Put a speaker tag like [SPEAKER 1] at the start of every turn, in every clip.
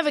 [SPEAKER 1] Ever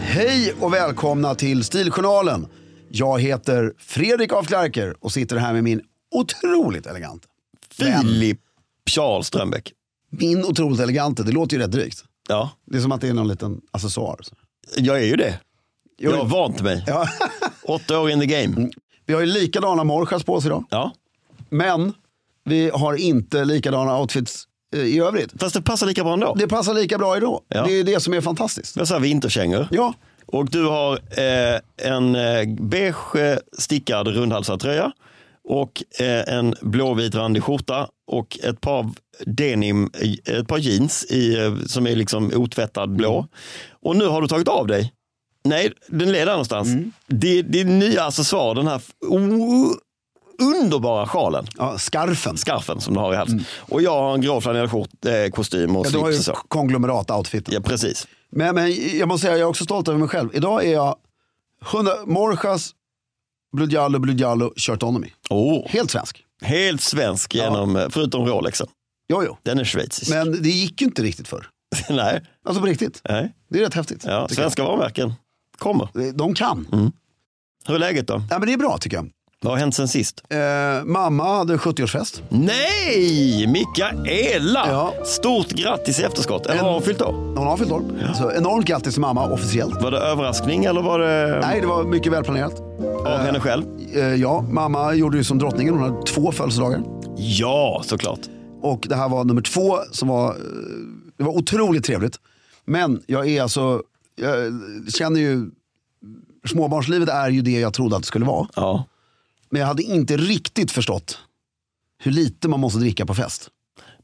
[SPEAKER 2] Hej och välkomna till Stiljournalen. Jag heter Fredrik af Klerker och sitter här med min otroligt elegante.
[SPEAKER 3] Filip Charles Strömbäck.
[SPEAKER 2] Min otroligt elegante, det låter ju rätt drygt.
[SPEAKER 3] Ja,
[SPEAKER 2] Det är som att det är någon liten accessoar.
[SPEAKER 3] jag är ju det.
[SPEAKER 2] Jo. Mm.
[SPEAKER 3] Jag har vant mig.
[SPEAKER 2] Ja.
[SPEAKER 3] Åtta år in the game.
[SPEAKER 2] Vi har ju likadana morchas på oss idag.
[SPEAKER 3] Ja.
[SPEAKER 2] Men vi har inte likadana outfits eh, i övrigt.
[SPEAKER 3] Fast det passar lika bra ändå.
[SPEAKER 2] Det passar lika bra idag.
[SPEAKER 3] Ja.
[SPEAKER 2] Det är det som är fantastiskt.
[SPEAKER 3] Jag har så här vinterkängor.
[SPEAKER 2] Ja,
[SPEAKER 3] Och du har eh, en eh, beige eh, stickad rundhalsad tröja. Och eh, en blåvit randig skjorta. Och ett par denim, eh, ett par jeans i, eh, som är liksom otvättad blå.
[SPEAKER 2] Mm.
[SPEAKER 3] Och nu har du tagit av dig. Nej, den leder någonstans.
[SPEAKER 2] Mm.
[SPEAKER 3] Det, det är nya accessoar, den här f- o- underbara sjalen.
[SPEAKER 2] ja skarfen.
[SPEAKER 3] skarfen som du har i halsen. Och jag har en grå flanellskjort, eh, kostym och
[SPEAKER 2] Mm. Ja, du har ju
[SPEAKER 3] slips och så.
[SPEAKER 2] konglomerat-outfiten.
[SPEAKER 3] Ja, precis.
[SPEAKER 2] Men, men jag måste säga, jag är också stolt över mig själv. Idag är jag 100, Morjas Bludjallo Bludjallo Shirtonomy.
[SPEAKER 3] Oh,
[SPEAKER 2] Helt svensk.
[SPEAKER 3] helt svensk, genom, eh, förutom Rolexen.
[SPEAKER 2] Jo, jo.
[SPEAKER 3] Den är schweizisk.
[SPEAKER 2] Men det gick ju inte riktigt förr.
[SPEAKER 3] nej,
[SPEAKER 2] Alltså på riktigt.
[SPEAKER 3] nej.
[SPEAKER 2] Det är rätt häftigt.
[SPEAKER 3] Ja,
[SPEAKER 2] tycker jag.
[SPEAKER 3] svenska varumärken kommer.
[SPEAKER 2] De kan.
[SPEAKER 3] Hur är läget då?
[SPEAKER 2] Ja, men det är bra tycker jag.
[SPEAKER 3] Vad har hänt sen sist?
[SPEAKER 2] Eh, mamma hade 70-årsfest.
[SPEAKER 3] Nej, Mikaela!
[SPEAKER 2] Ja.
[SPEAKER 3] Stort grattis i efterskott. Eller
[SPEAKER 2] En-
[SPEAKER 3] har hon fyllt år?
[SPEAKER 2] Hon har fyllt år. Så enormt grattis till mamma officiellt.
[SPEAKER 3] Var det överraskning eller var det
[SPEAKER 2] Nej, det var mycket välplanerat.
[SPEAKER 3] av henne själv?
[SPEAKER 2] Eh, ja, mamma gjorde ju som drottningen. Hon hade två födelsedagar.
[SPEAKER 3] Ja, såklart.
[SPEAKER 2] Och det här var nummer två som var, eh, det var otroligt trevligt. Men jag är alltså, jag känner ju, småbarnslivet är ju det jag trodde att det skulle vara.
[SPEAKER 3] Ja.
[SPEAKER 2] Men jag hade inte riktigt förstått hur lite man måste dricka på fest.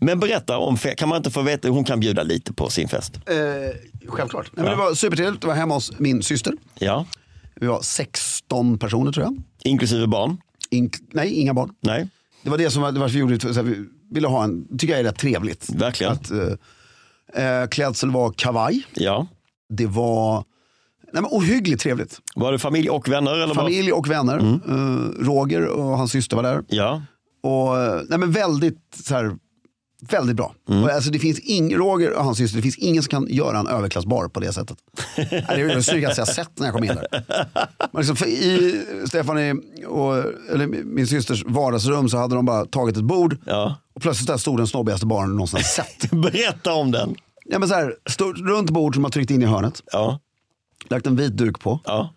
[SPEAKER 3] Men berätta om, fe- kan man inte få veta, hon kan bjuda lite på sin fest.
[SPEAKER 2] Eh, självklart. Nej, men
[SPEAKER 3] Ja.
[SPEAKER 2] Det var supertrevligt, det var hemma hos min syster.
[SPEAKER 3] Ja,
[SPEAKER 2] Vi var 16 personer tror jag.
[SPEAKER 3] inklusive barn.
[SPEAKER 2] Ink- nej, inga barn.
[SPEAKER 3] Nej,
[SPEAKER 2] Det var det som var, det var vi gjorde, så här, vi ville ha en, tycker jag är rätt trevligt.
[SPEAKER 3] verkligen.
[SPEAKER 2] Att, eh, eh, klädsel var kavaj.
[SPEAKER 3] Ja.
[SPEAKER 2] Det var nej, men ohyggligt trevligt.
[SPEAKER 3] Var det familj och vänner? Eller Var...
[SPEAKER 2] Familj och vänner. Eh, Roger och hans syster var där.
[SPEAKER 3] Ja.
[SPEAKER 2] Och, eh, nej, men väldigt, så här, väldigt bra. Och, alltså, det finns ing, Roger och hans syster, det finns ingen som kan göra en överklassbar på det sättet. Nej, det är det snyggaste jag sett när jag kom in där. Men liksom, för I Stefanie och eller min systers vardagsrum så hade de bara tagit ett bord
[SPEAKER 3] ja.
[SPEAKER 2] och plötsligt där stod den snobbigaste barnen någonsin har sett.
[SPEAKER 3] Berätta om den.
[SPEAKER 2] Nej, men så här, stort, runt bord som man tryckt in i hörnet,
[SPEAKER 3] Ja,
[SPEAKER 2] lagt en vit duk på,
[SPEAKER 3] ja.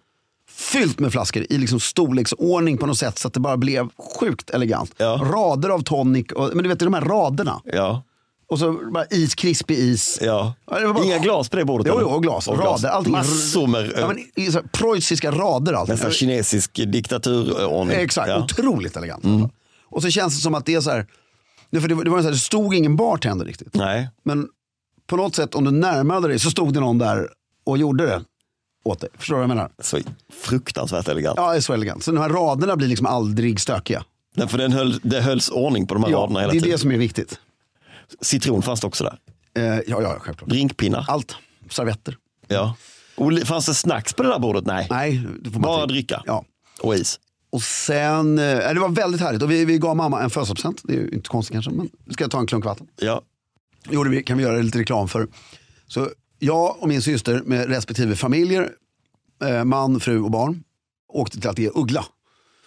[SPEAKER 2] fyllt med flaskor i liksom storleksordning på något sätt så att det bara blev sjukt elegant.
[SPEAKER 3] Ja.
[SPEAKER 2] Rader av tonic, och, men du vet de här raderna.
[SPEAKER 3] Ja,
[SPEAKER 2] Och så bara is, krispig is.
[SPEAKER 3] ja.
[SPEAKER 2] Ja, det var bara-
[SPEAKER 3] Inga glas på det bordet?
[SPEAKER 2] Jo,
[SPEAKER 3] eller?
[SPEAKER 2] jo, och glas,
[SPEAKER 3] Och
[SPEAKER 2] rader, allting.
[SPEAKER 3] Massor med
[SPEAKER 2] ja,
[SPEAKER 3] ja,
[SPEAKER 2] men, i så här, preussiska rader allting.
[SPEAKER 3] nästan kinesisk diktaturordning.
[SPEAKER 2] Exakt,
[SPEAKER 3] Ja. Mm.
[SPEAKER 2] otroligt elegant. Och så känns det som att det är så här, nej, för det, var- det, var så här det stod ingen bartender riktigt.
[SPEAKER 3] Nej,
[SPEAKER 2] Men på något sätt om du närmade dig så stod det någon där och gjorde det åt dig. Förstår du vad jag menar?
[SPEAKER 3] så fruktansvärt elegant.
[SPEAKER 2] Ja, det är så elegant. Så de här raderna blir liksom aldrig stökiga.
[SPEAKER 3] Nej, för den höll, det hölls ordning på de här
[SPEAKER 2] Ja,
[SPEAKER 3] raderna hela
[SPEAKER 2] det är
[SPEAKER 3] tiden.
[SPEAKER 2] det som är viktigt.
[SPEAKER 3] Citron fanns det också där.
[SPEAKER 2] Eh, ja, ja, självklart.
[SPEAKER 3] Drinkpinnar.
[SPEAKER 2] Allt. Servetter.
[SPEAKER 3] Ja. Oli- Fanns det snacks på det där bordet? Nej.
[SPEAKER 2] Nej, det får man
[SPEAKER 3] Bara
[SPEAKER 2] inte.
[SPEAKER 3] dricka.
[SPEAKER 2] Ja.
[SPEAKER 3] Och is.
[SPEAKER 2] Och sen, eh, det var väldigt härligt. Och vi, vi gav mamma en födelsedagspresent. Det är ju inte konstigt kanske, men ska jag ta en klunk vatten?
[SPEAKER 3] Ja.
[SPEAKER 2] Jo, det kan vi göra lite reklam för. Så jag och min syster med respektive familjer, eh, man, fru och barn, åkte till Ateljé Uggla.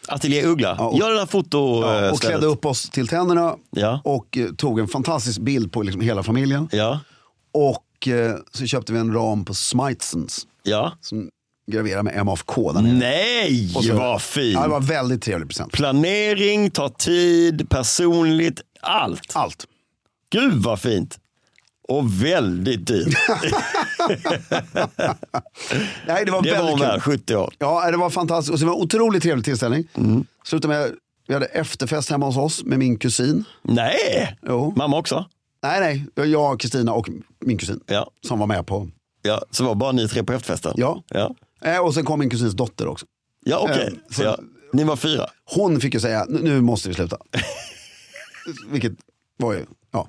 [SPEAKER 3] Ateljé Uggla.
[SPEAKER 2] och-
[SPEAKER 3] Gör det där foto
[SPEAKER 2] Ja,
[SPEAKER 3] eh,
[SPEAKER 2] och
[SPEAKER 3] stället.
[SPEAKER 2] klädde upp oss till tänderna
[SPEAKER 3] Ja.
[SPEAKER 2] och eh, tog en fantastisk bild på liksom hela familjen.
[SPEAKER 3] Ja.
[SPEAKER 2] Och eh, så köpte vi en ram på Smithsons
[SPEAKER 3] Ja.
[SPEAKER 2] som graverar med MFK där nere.
[SPEAKER 3] Nej,
[SPEAKER 2] så-
[SPEAKER 3] vad fint.
[SPEAKER 2] Ja, det var en väldigt trevlig present.
[SPEAKER 3] Planering, ta tid, personligt, allt.
[SPEAKER 2] Allt.
[SPEAKER 3] Gud vad fint. Och väldigt dyrt.
[SPEAKER 2] Nej, det var
[SPEAKER 3] Det var
[SPEAKER 2] väldigt
[SPEAKER 3] hon
[SPEAKER 2] kul.
[SPEAKER 3] värd, 70 år.
[SPEAKER 2] Ja, det var fantastiskt. Och så det var en otroligt trevlig tillställning. Slutade med vi hade efterfest hemma hos oss med min kusin.
[SPEAKER 3] Nej,
[SPEAKER 2] Jo.
[SPEAKER 3] mamma också.
[SPEAKER 2] Nej, nej. det var Jag, Kristina och min kusin
[SPEAKER 3] Ja.
[SPEAKER 2] som var med på.
[SPEAKER 3] Ja, så var bara ni tre på efterfesten?
[SPEAKER 2] Ja.
[SPEAKER 3] Ja,
[SPEAKER 2] Eh, Och sen kom min kusins dotter också.
[SPEAKER 3] ja okej.
[SPEAKER 2] Eh, så-
[SPEAKER 3] Ja. Ni var fyra?
[SPEAKER 2] Hon fick ju säga, "Nu- nu måste vi sluta. Vilket var ju, ja.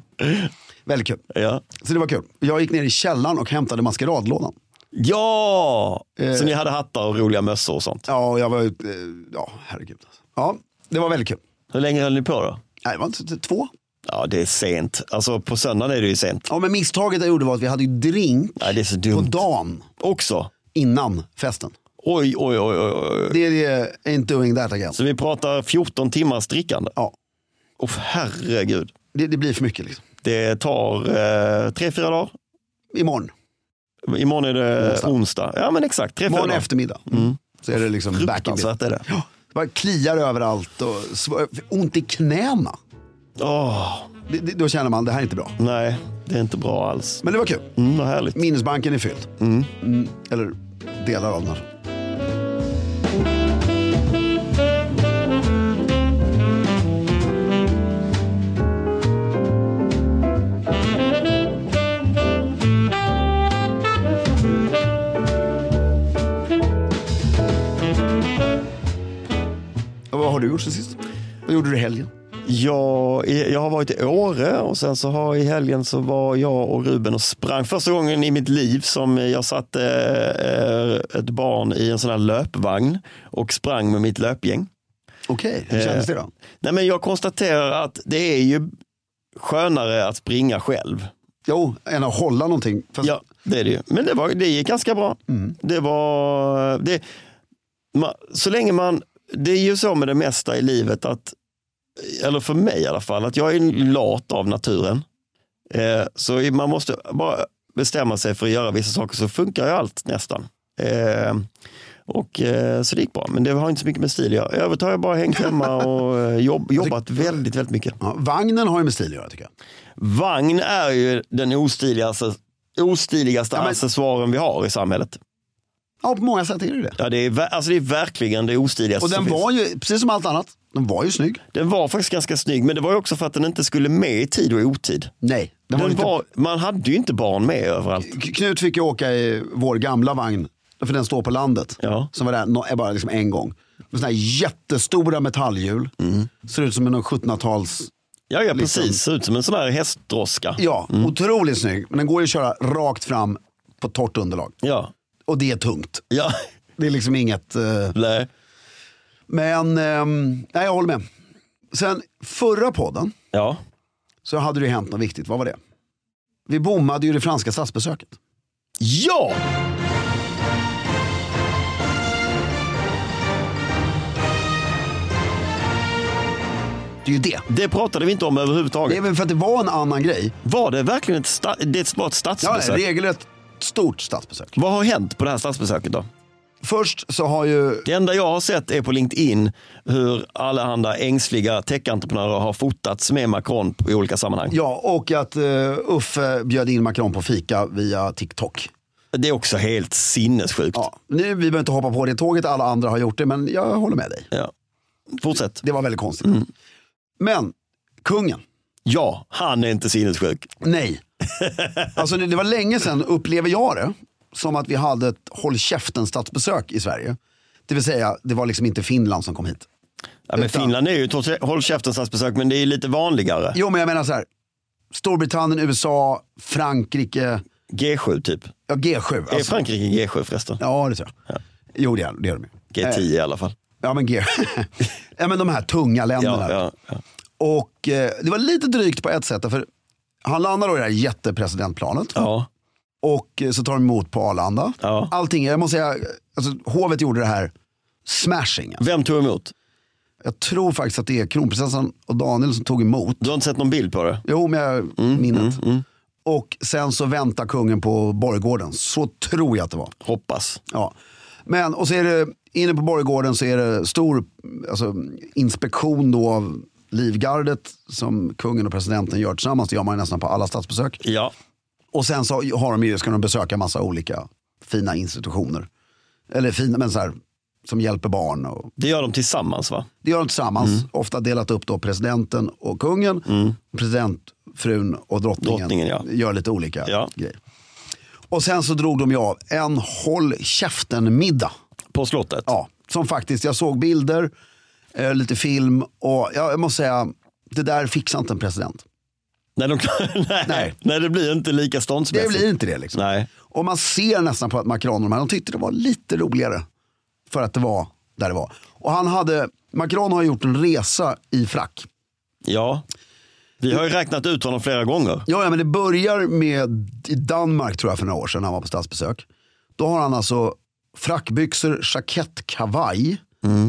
[SPEAKER 2] Väldigt kul.
[SPEAKER 3] Ja.
[SPEAKER 2] Så det var kul. Jag gick ner i källaren och hämtade maskeradlådan.
[SPEAKER 3] ja!
[SPEAKER 2] Eh.
[SPEAKER 3] Så ni hade hattar och roliga mössor och sånt?
[SPEAKER 2] Ja, och jag var ute, eh, ja herregud. alltså. Ja, det var väldigt kul.
[SPEAKER 3] Hur länge höll ni på då?
[SPEAKER 2] Nej, det var inte två.
[SPEAKER 3] Ja, det är sent. Alltså på söndagen är det ju sent.
[SPEAKER 2] Ja, men misstaget jag gjorde var att vi hade ju drink
[SPEAKER 3] Nej, det är så
[SPEAKER 2] på
[SPEAKER 3] dumt.
[SPEAKER 2] dagen
[SPEAKER 3] Också.
[SPEAKER 2] innan festen.
[SPEAKER 3] Oj, oj, oj, oj, oj.
[SPEAKER 2] Det är det, ain't doing that again.
[SPEAKER 3] Så vi pratar 14 timmars drickande.
[SPEAKER 2] Ja,
[SPEAKER 3] Åh herregud.
[SPEAKER 2] det, det blir för mycket liksom.
[SPEAKER 3] Det tar eh, tre, fyra dagar.
[SPEAKER 2] Imorgon,
[SPEAKER 3] Imorgon är det
[SPEAKER 2] Onsdag.
[SPEAKER 3] onsdag. Ja, men exakt. Tre, fyra
[SPEAKER 2] imorgon
[SPEAKER 3] dagar.
[SPEAKER 2] eftermiddag. Mm. Så är det liksom back in business.
[SPEAKER 3] Mm. Fruktansvärt är det.
[SPEAKER 2] Ja, det bara kliar överallt och sv- ont i knäna.
[SPEAKER 3] Åh,
[SPEAKER 2] Det, det, då känner man, det här är inte bra.
[SPEAKER 3] nej, det är inte bra alls.
[SPEAKER 2] Men det var kul.
[SPEAKER 3] Mm, vad härligt.
[SPEAKER 2] Minnesbanken är fylld. Mm, eller delar av den. alltså. Och Vad har du gjort sen sist? Vad gjorde du i helgen?
[SPEAKER 3] Jag, jag har varit i Åre och sen så har i helgen så var jag och Ruben och sprang första gången i mitt liv som jag satte eh, ett barn i en sån här löpvagn och sprang med mitt löpgäng.
[SPEAKER 2] Okej, Eh. hur kändes det då?
[SPEAKER 3] Nej men jag konstaterar att det är ju skönare att springa själv.
[SPEAKER 2] Jo, än att hålla någonting. Fast,
[SPEAKER 3] Ja, det är det ju. Men det, var, det gick ganska bra. Det var... Det, ma, så länge man... Det är ju så med det mesta i livet att, eller för mig i alla fall, att jag är lat av naturen. Eh, så man måste bara bestämma sig för att göra vissa saker så funkar ju allt nästan. Eh, och eh, så det gick bra, men det har inte så mycket med stil att göra. I övrigt har jag bara hängt hemma och eh, jobb, jobbat väldigt, väldigt mycket.
[SPEAKER 2] Ja, vagnen har ju med stil att göra tycker jag.
[SPEAKER 3] Vagn är ju den ostiligaste, ostiligaste
[SPEAKER 2] men-
[SPEAKER 3] accessoaren vi har i samhället.
[SPEAKER 2] Ja, på många sätt är det det.
[SPEAKER 3] Ja, det, är, ver- alltså det är verkligen det ostiligaste
[SPEAKER 2] Och den
[SPEAKER 3] som
[SPEAKER 2] var
[SPEAKER 3] finns.
[SPEAKER 2] ju, precis som allt annat, den var ju snygg.
[SPEAKER 3] Den var faktiskt ganska snygg, men det var ju också för att den inte skulle med i tid och i otid.
[SPEAKER 2] Nej, den,
[SPEAKER 3] Den
[SPEAKER 2] var inte...
[SPEAKER 3] var, man hade ju inte barn med överallt.
[SPEAKER 2] Knut fick ju åka i vår gamla vagn, för den står på landet.
[SPEAKER 3] Ja.
[SPEAKER 2] Som var där nå- bara liksom en gång. Med sådana här jättestora metallhjul. Ser ut som en 1700-tals...
[SPEAKER 3] Ja, ja precis. Ser ut som en sån här hästdroska.
[SPEAKER 2] Liksom. Ja, otroligt snygg. Men den går ju att köra rakt fram på torrt underlag.
[SPEAKER 3] Ja.
[SPEAKER 2] Och det är tungt.
[SPEAKER 3] ja.
[SPEAKER 2] Det är liksom inget... eh,
[SPEAKER 3] Nej.
[SPEAKER 2] Men, ehm, nej jag håller med. Sen förra podden
[SPEAKER 3] ja.
[SPEAKER 2] så hade det ju hänt något viktigt. Vad var det? Vi bommade ju det franska statsbesöket.
[SPEAKER 3] Ja!
[SPEAKER 2] Det är ju det.
[SPEAKER 3] Det pratade vi inte om
[SPEAKER 2] Det
[SPEAKER 3] överhuvudtaget.
[SPEAKER 2] är väl för att det var en annan grej.
[SPEAKER 3] Var det verkligen ett, sta- det var ett
[SPEAKER 2] Ja,
[SPEAKER 3] statsbesök?
[SPEAKER 2] regelrätt stort statsbesök.
[SPEAKER 3] Vad har hänt på det här statsbesöket då?
[SPEAKER 2] Först så har ju...
[SPEAKER 3] Det enda jag har sett är på LinkedIn hur allehanda ängsliga techentreprenörer har fotats med Macron i olika sammanhang.
[SPEAKER 2] Ja, och att eh, Uffe bjöd in Macron på fika via TikTok.
[SPEAKER 3] Det är också helt sinnessjukt. Ja.
[SPEAKER 2] Ja, nu, vi behöver inte hoppa på det tåget, alla andra har gjort det, men jag håller med dig.
[SPEAKER 3] Fortsätt.
[SPEAKER 2] Det var väldigt konstigt. Men, kungen.
[SPEAKER 3] Ja, han är inte sinnessjuk.
[SPEAKER 2] Nej. Alltså det, det var länge sedan, upplever jag det, som att vi hade ett håll käften statsbesök i Sverige. Det vill säga, det var liksom inte Finland som kom hit.
[SPEAKER 3] Ja, men
[SPEAKER 2] Utan-
[SPEAKER 3] Finland är ju trots- håll käften statsbesök, men det är lite vanligare.
[SPEAKER 2] Jo, men jag menar så här. Storbritannien, USA, Frankrike,
[SPEAKER 3] G7 typ.
[SPEAKER 2] ja, G7.
[SPEAKER 3] Är
[SPEAKER 2] Alltså,
[SPEAKER 3] Frankrike G7 förresten?
[SPEAKER 2] ja, det tror jag. Jo, det är det. Är de. ju.
[SPEAKER 3] G10 i alla fall.
[SPEAKER 2] Ja, men G. ja, men de här tunga länderna.
[SPEAKER 3] Ja, ja, ja.
[SPEAKER 2] Och eh, det var lite drygt på ett sätt. För han landar då i det här jättepresidentplanet.
[SPEAKER 3] ja.
[SPEAKER 2] Och eh, så tar de emot på Arlanda.
[SPEAKER 3] Ja.
[SPEAKER 2] Allting, jag måste säga, alltså, hovet gjorde det här smashing. alltså.
[SPEAKER 3] Vem tog emot?
[SPEAKER 2] Jag tror faktiskt att det är kronprinsessan och Daniel som tog emot.
[SPEAKER 3] Du har inte sett någon bild på det?
[SPEAKER 2] Jo, men jag minnet. Och sen så väntar kungen på borggården. Så tror jag att det var.
[SPEAKER 3] Hoppas.
[SPEAKER 2] Ja. Men, och så är det, inne på borggården så är det stor alltså, inspektion då av Livgardet som kungen och presidenten gör tillsammans. Det gör man ju nästan på alla statsbesök.
[SPEAKER 3] Ja.
[SPEAKER 2] Och sen så har de ju, ska de besöka massa olika fina institutioner. Eller fina, men så här, som hjälper barn. Och,
[SPEAKER 3] Det gör de tillsammans va?
[SPEAKER 2] det gör de tillsammans.
[SPEAKER 3] Mm.
[SPEAKER 2] Ofta delat upp då presidenten och kungen. Presidentfrun och drottningen,
[SPEAKER 3] Drottningen, ja.
[SPEAKER 2] gör lite olika
[SPEAKER 3] Ja.
[SPEAKER 2] grejer. Och sen så drog de ju av en håll käften-middag.
[SPEAKER 3] På slottet?
[SPEAKER 2] Ja, som faktiskt, jag såg bilder, eh, lite film och ja, jag måste säga, det där fixar inte en president.
[SPEAKER 3] Nej, de, nej.
[SPEAKER 2] Nej.
[SPEAKER 3] Nej. det blir inte lika
[SPEAKER 2] Det
[SPEAKER 3] ståndsmässigt.
[SPEAKER 2] blir inte det liksom.
[SPEAKER 3] Nej.
[SPEAKER 2] Och man ser nästan på att Macron och de här, de tyckte det var lite roligare. För att det var där det var. Och han hade, Macron har gjort en resa i frack.
[SPEAKER 3] Ja. Vi har ju räknat ut honom flera gånger.
[SPEAKER 2] Ja, ja, men det börjar med i Danmark tror jag för några år sedan när han var på statsbesök. Då har han alltså frackbyxor, jackett, kavaj.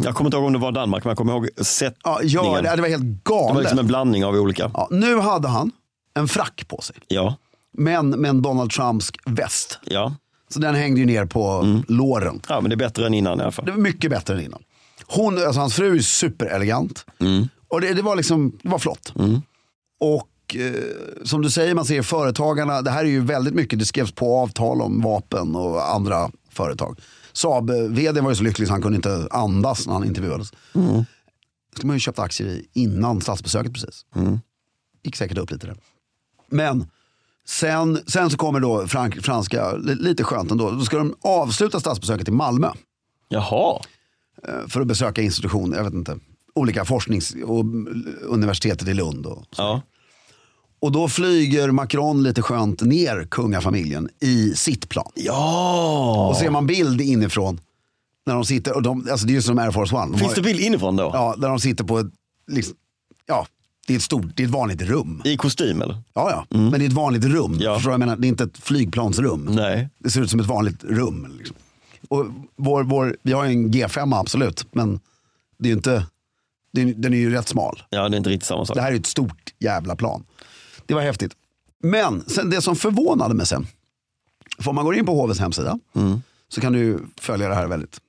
[SPEAKER 3] Jag kommer inte ihåg om det var Danmark, men jag kommer ihåg
[SPEAKER 2] Mm. Ja,
[SPEAKER 3] sättningen.
[SPEAKER 2] ja det, det var helt
[SPEAKER 3] det var
[SPEAKER 2] galet.
[SPEAKER 3] liksom en blandning av olika.
[SPEAKER 2] Ja, nu hade han en frack på sig.
[SPEAKER 3] Ja,
[SPEAKER 2] Men med en Donald Trumpsk väst.
[SPEAKER 3] ja.
[SPEAKER 2] Så den hängde ju ner på
[SPEAKER 3] Mm.
[SPEAKER 2] låren.
[SPEAKER 3] ja men det är bättre än innan i alla fall.
[SPEAKER 2] Det var mycket bättre än innan. Hon, alltså hans fru är superelegant. Och det, det var liksom, det var flott. Och eh, som du säger, man ser företagarna, det här är ju väldigt mycket, det skrevs på avtal om vapen och andra företag. Saab, eh, vd var ju så lycklig så han kunde inte andas när han intervjuades. skulle man ju köpt aktier i innan statsbesöket precis. Gick säkert upp lite där. Men sen, sen så kommer då frank, franska, li- lite skönt ändå, då ska de avsluta statsbesöket i Malmö
[SPEAKER 3] Jaha,
[SPEAKER 2] för att besöka institutioner, jag vet inte, olika forsknings och universitetet i Lund. Och,
[SPEAKER 3] ja.
[SPEAKER 2] och då flyger Macron lite skönt ner kungafamiljen i sitt plan.
[SPEAKER 3] ja.
[SPEAKER 2] Och ser man bild inifrån när de sitter, och de, alltså det är ju som Air Force One. De
[SPEAKER 3] Finns
[SPEAKER 2] har-
[SPEAKER 3] det bild inifrån då?
[SPEAKER 2] Ja, där de sitter på ett, liksom, ja, det är ett stort, det är ett vanligt rum.
[SPEAKER 3] I kostym eller?
[SPEAKER 2] Ja, ja, men det är ett vanligt rum.
[SPEAKER 3] Mm. Ja.
[SPEAKER 2] Förstår du vad jag menar? Det är inte ett flygplansrum.
[SPEAKER 3] Nej.
[SPEAKER 2] Det ser ut som ett vanligt rum. Liksom. Och vår, vår, vi har ju en G5 absolut, men det är ju inte, det är, den är ju rätt smal.
[SPEAKER 3] Ja, det är inte riktigt samma sak.
[SPEAKER 2] Det här är ju ett stort jävla plan. Det var häftigt. Men sen, det som förvånade mig sen, för om man går in på hovets hemsida så kan du ju följa det här väldigt.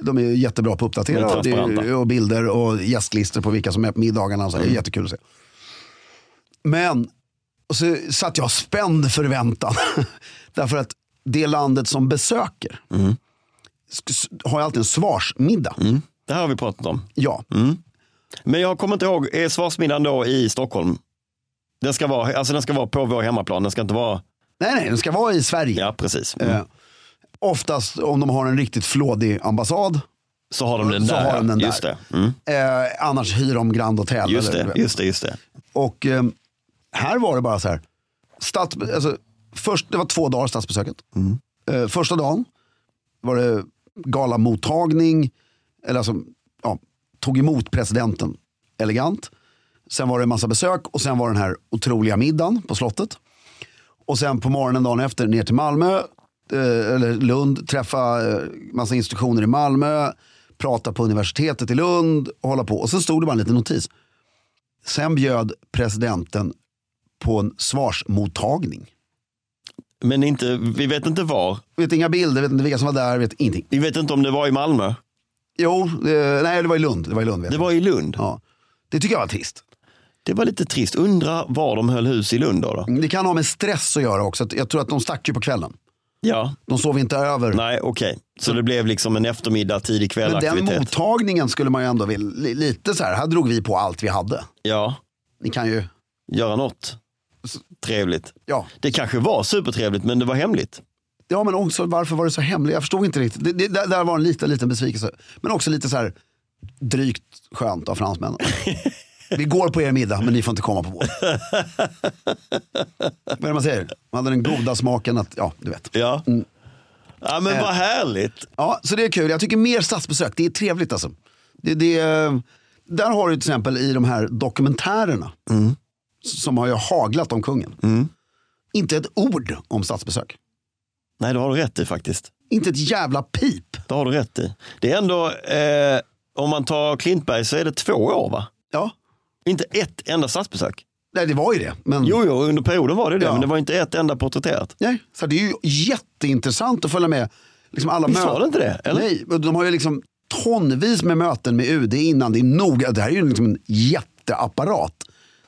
[SPEAKER 2] De är ju jättebra på att uppdatera
[SPEAKER 3] De är
[SPEAKER 2] och, det är, ju-
[SPEAKER 3] transparenta.
[SPEAKER 2] och bilder och gästlistor på vilka som är på middagarna. Och så. Det är jättekul att se. Men och så satt jag spänd förväntan. Därför att det landet som besöker sk- s- har ju alltid en svarsmiddag.
[SPEAKER 3] Det här har vi pratat om.
[SPEAKER 2] Ja.
[SPEAKER 3] Men jag kommer inte ihåg, är svarsmiddagen då i Stockholm? Den ska vara, alltså den ska vara på vår hemmaplan, den ska inte vara...
[SPEAKER 2] Nej, nej, den ska vara i Sverige.
[SPEAKER 3] Ja, precis. Mm.
[SPEAKER 2] Eh, oftast om de har en riktigt flådig ambassad.
[SPEAKER 3] Så har de den
[SPEAKER 2] Så
[SPEAKER 3] där.
[SPEAKER 2] har de den där.
[SPEAKER 3] Just det. Mm.
[SPEAKER 2] Eh, annars hyr de Grand Hotel.
[SPEAKER 3] Just
[SPEAKER 2] eller-
[SPEAKER 3] det, just det, just det.
[SPEAKER 2] Och eh, här var det bara så här. Stats, alltså, först, det var två dagar statsbesöket. Eh, första dagen var det galamottagning. Eller alltså, ja, tog emot presidenten elegant. Sen var det en massa besök och sen var den här otroliga middagen på slottet. Och sen på morgonen dagen efter ner till Malmö, eh, eller Lund, träffa eh, massa institutioner i Malmö, prata på universitetet i Lund och hålla på. Och sen stod det bara en liten notis. Sen bjöd presidenten på en svarsmottagning.
[SPEAKER 3] Men inte, vi vet inte var.
[SPEAKER 2] Vet inga bilder, vet inte vilka som var där, vet ingenting.
[SPEAKER 3] Vi vet inte om det var i Malmö.
[SPEAKER 2] Jo, eh, nej det var i Lund. Det var i Lund vet
[SPEAKER 3] Det
[SPEAKER 2] jag.
[SPEAKER 3] var i Lund.
[SPEAKER 2] Ja. det tycker jag var trist.
[SPEAKER 3] Det var lite trist. Undra var de höll hus i Lund då? då?
[SPEAKER 2] Det kan ha med stress att göra också. Jag tror att de stack ju på kvällen.
[SPEAKER 3] Ja,
[SPEAKER 2] De sov inte över.
[SPEAKER 3] nej okej. Så det blev liksom en eftermiddag, tidig kväll
[SPEAKER 2] Men den
[SPEAKER 3] aktivitet.
[SPEAKER 2] mottagningen skulle man ju ändå vilja, li- lite så här, här drog vi på allt vi hade.
[SPEAKER 3] Ja,
[SPEAKER 2] Ni kan ju,
[SPEAKER 3] göra något. Trevligt.
[SPEAKER 2] ja.
[SPEAKER 3] Det kanske var supertrevligt men det var hemligt.
[SPEAKER 2] Ja men också varför var det så hemligt? Jag förstod inte riktigt. Det, det, där där var en liten, liten besvikelse. Men också lite så här drygt skönt av fransmännen. Vi går på er middag men ni får inte komma på vår. Vad är det man säger? Man hade den goda smaken att, ja du vet.
[SPEAKER 3] Ja, ja men
[SPEAKER 2] Äh.
[SPEAKER 3] vad härligt.
[SPEAKER 2] Ja, så det är kul. Jag tycker mer statsbesök. Det är trevligt alltså. Det, det, där har du till exempel i de här dokumentärerna som har ju haglat om kungen. Inte ett ord om statsbesök.
[SPEAKER 3] Nej, det har du rätt i faktiskt.
[SPEAKER 2] Inte ett jävla pip.
[SPEAKER 3] Det har du rätt i. Det är ändå, eh, om man tar Klintberg så är det två år va?
[SPEAKER 2] Ja,
[SPEAKER 3] Inte ett enda statsbesök.
[SPEAKER 2] nej, det var ju det. Men...
[SPEAKER 3] Jo, jo, under perioden var det
[SPEAKER 2] Mm.
[SPEAKER 3] det,
[SPEAKER 2] Ja.
[SPEAKER 3] men det var inte ett enda porträtterat.
[SPEAKER 2] Nej, så det är ju jätteintressant att följa med. Liksom alla
[SPEAKER 3] Visst var
[SPEAKER 2] möten.
[SPEAKER 3] det inte det? Eller?
[SPEAKER 2] Nej, men de har ju liksom tonvis med möten med UD innan det är noga. Det här är ju liksom en jätteapparat.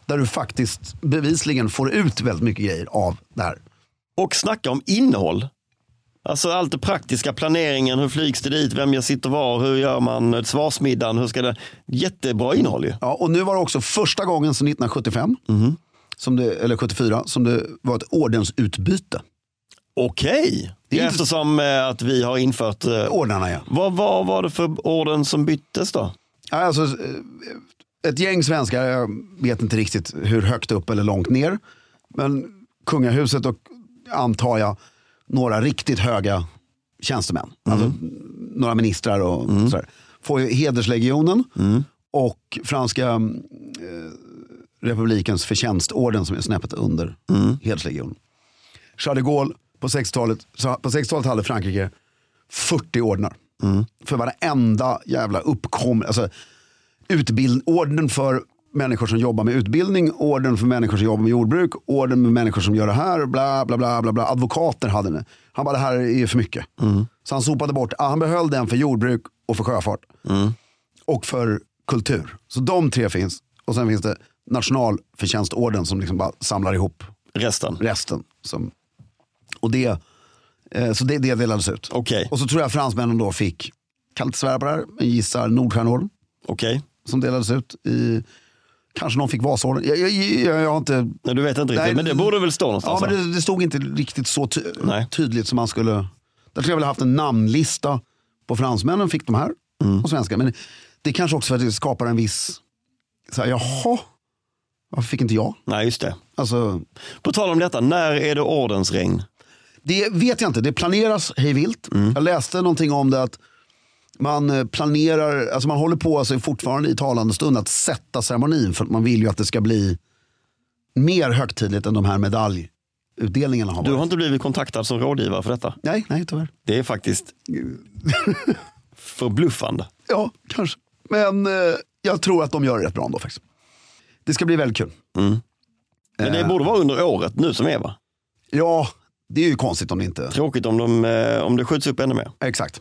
[SPEAKER 2] Där du faktiskt bevisligen får ut väldigt mycket grejer av det här.
[SPEAKER 3] Och snacka om innehåll. Alltså allt det praktiska, planeringen, hur flygs det dit, vem jag sitter var, hur gör man svarsmiddagen, hur ska det... Jättebra innehåll ju.
[SPEAKER 2] Ja, och nu var det också första gången sedan 1975,
[SPEAKER 3] Mhm.
[SPEAKER 2] som det, eller 74, som det var ett ordensutbyte.
[SPEAKER 3] Okej,
[SPEAKER 2] Det är inte-
[SPEAKER 3] eftersom eh, att vi har infört... eh,
[SPEAKER 2] Ordnarna ja.
[SPEAKER 3] Vad, vad var det för orden som byttes då?
[SPEAKER 2] Ja, Alltså, eh, ett gäng svenskar, jag vet inte riktigt hur högt upp eller långt ner. Men kungahuset och antar jag några riktigt höga tjänstemän. Alltså, några ministrar och sådär. Får ju hederslegionen och franska eh, republikens förtjänstorden som är snäppet under hederslegionen. Charles de Gaulle på 60-talet, så- på 60-talet hade Frankrike 40 ordnar. För varenda jävla uppkom, alltså utbild, orden för människor som jobbar med utbildning, orden för människor som jobbar med jordbruk, orden med människor som gör det här, bla bla bla. bla, bla. Advokater hade den. Han bara, det här är för mycket. Så han sopade bort, ah, han behöll den för jordbruk och för sjöfart. Och för kultur. Så de tre finns. Och sen finns det nationalförtjänstorden som liksom bara samlar ihop
[SPEAKER 3] Resten?
[SPEAKER 2] resten. Som, och det, eh, så det, det delades ut.
[SPEAKER 3] Okej,
[SPEAKER 2] Och så tror jag fransmännen då fick, kan inte svära på det här, men gissar Nordstjärneorden
[SPEAKER 3] okej.
[SPEAKER 2] som delades ut. I, kanske någon fick Vasaorden. Jag, jag, jag, jag har inte...
[SPEAKER 3] Nej, du vet inte riktigt,
[SPEAKER 2] Nej,
[SPEAKER 3] men det
[SPEAKER 2] det-
[SPEAKER 3] borde väl stå
[SPEAKER 2] Ja,
[SPEAKER 3] någonstans?
[SPEAKER 2] men
[SPEAKER 3] va?
[SPEAKER 2] det, det stod inte riktigt så ty,
[SPEAKER 3] Alltså. Nej.
[SPEAKER 2] tydligt som man skulle... Där skulle jag väl haft en namnlista på fransmännen fick de här och svenska. Men det är kanske också för att det skapar en viss... Så här, jaha, varför fick inte jag?
[SPEAKER 3] Nej, just det.
[SPEAKER 2] Alltså,
[SPEAKER 3] På tal om detta, när är det ordensregn?
[SPEAKER 2] Det vet jag inte. Det planeras hej vilt.
[SPEAKER 3] Mm.
[SPEAKER 2] Jag läste någonting om det att man eh, planerar, alltså man håller på alltså fortfarande i talande stund att sätta ceremonin för att man vill ju att det ska bli mer högtidligt än de här medaljutdelningarna har
[SPEAKER 3] Du
[SPEAKER 2] varit.
[SPEAKER 3] har inte blivit kontaktad som rådgivare för detta.
[SPEAKER 2] Nej, nej tyvärr.
[SPEAKER 3] Det är faktiskt förbluffande.
[SPEAKER 2] Ja, kanske. Men eh, jag tror att de gör det rätt bra ändå faktiskt. Det ska bli väldigt kul.
[SPEAKER 3] Mm.
[SPEAKER 2] Eh,
[SPEAKER 3] Men det borde vara under året nu som är va?
[SPEAKER 2] Ja, det är ju konstigt om det inte...
[SPEAKER 3] Tråkigt om, de, eh, om det skjuts upp ännu mer.
[SPEAKER 2] Exakt.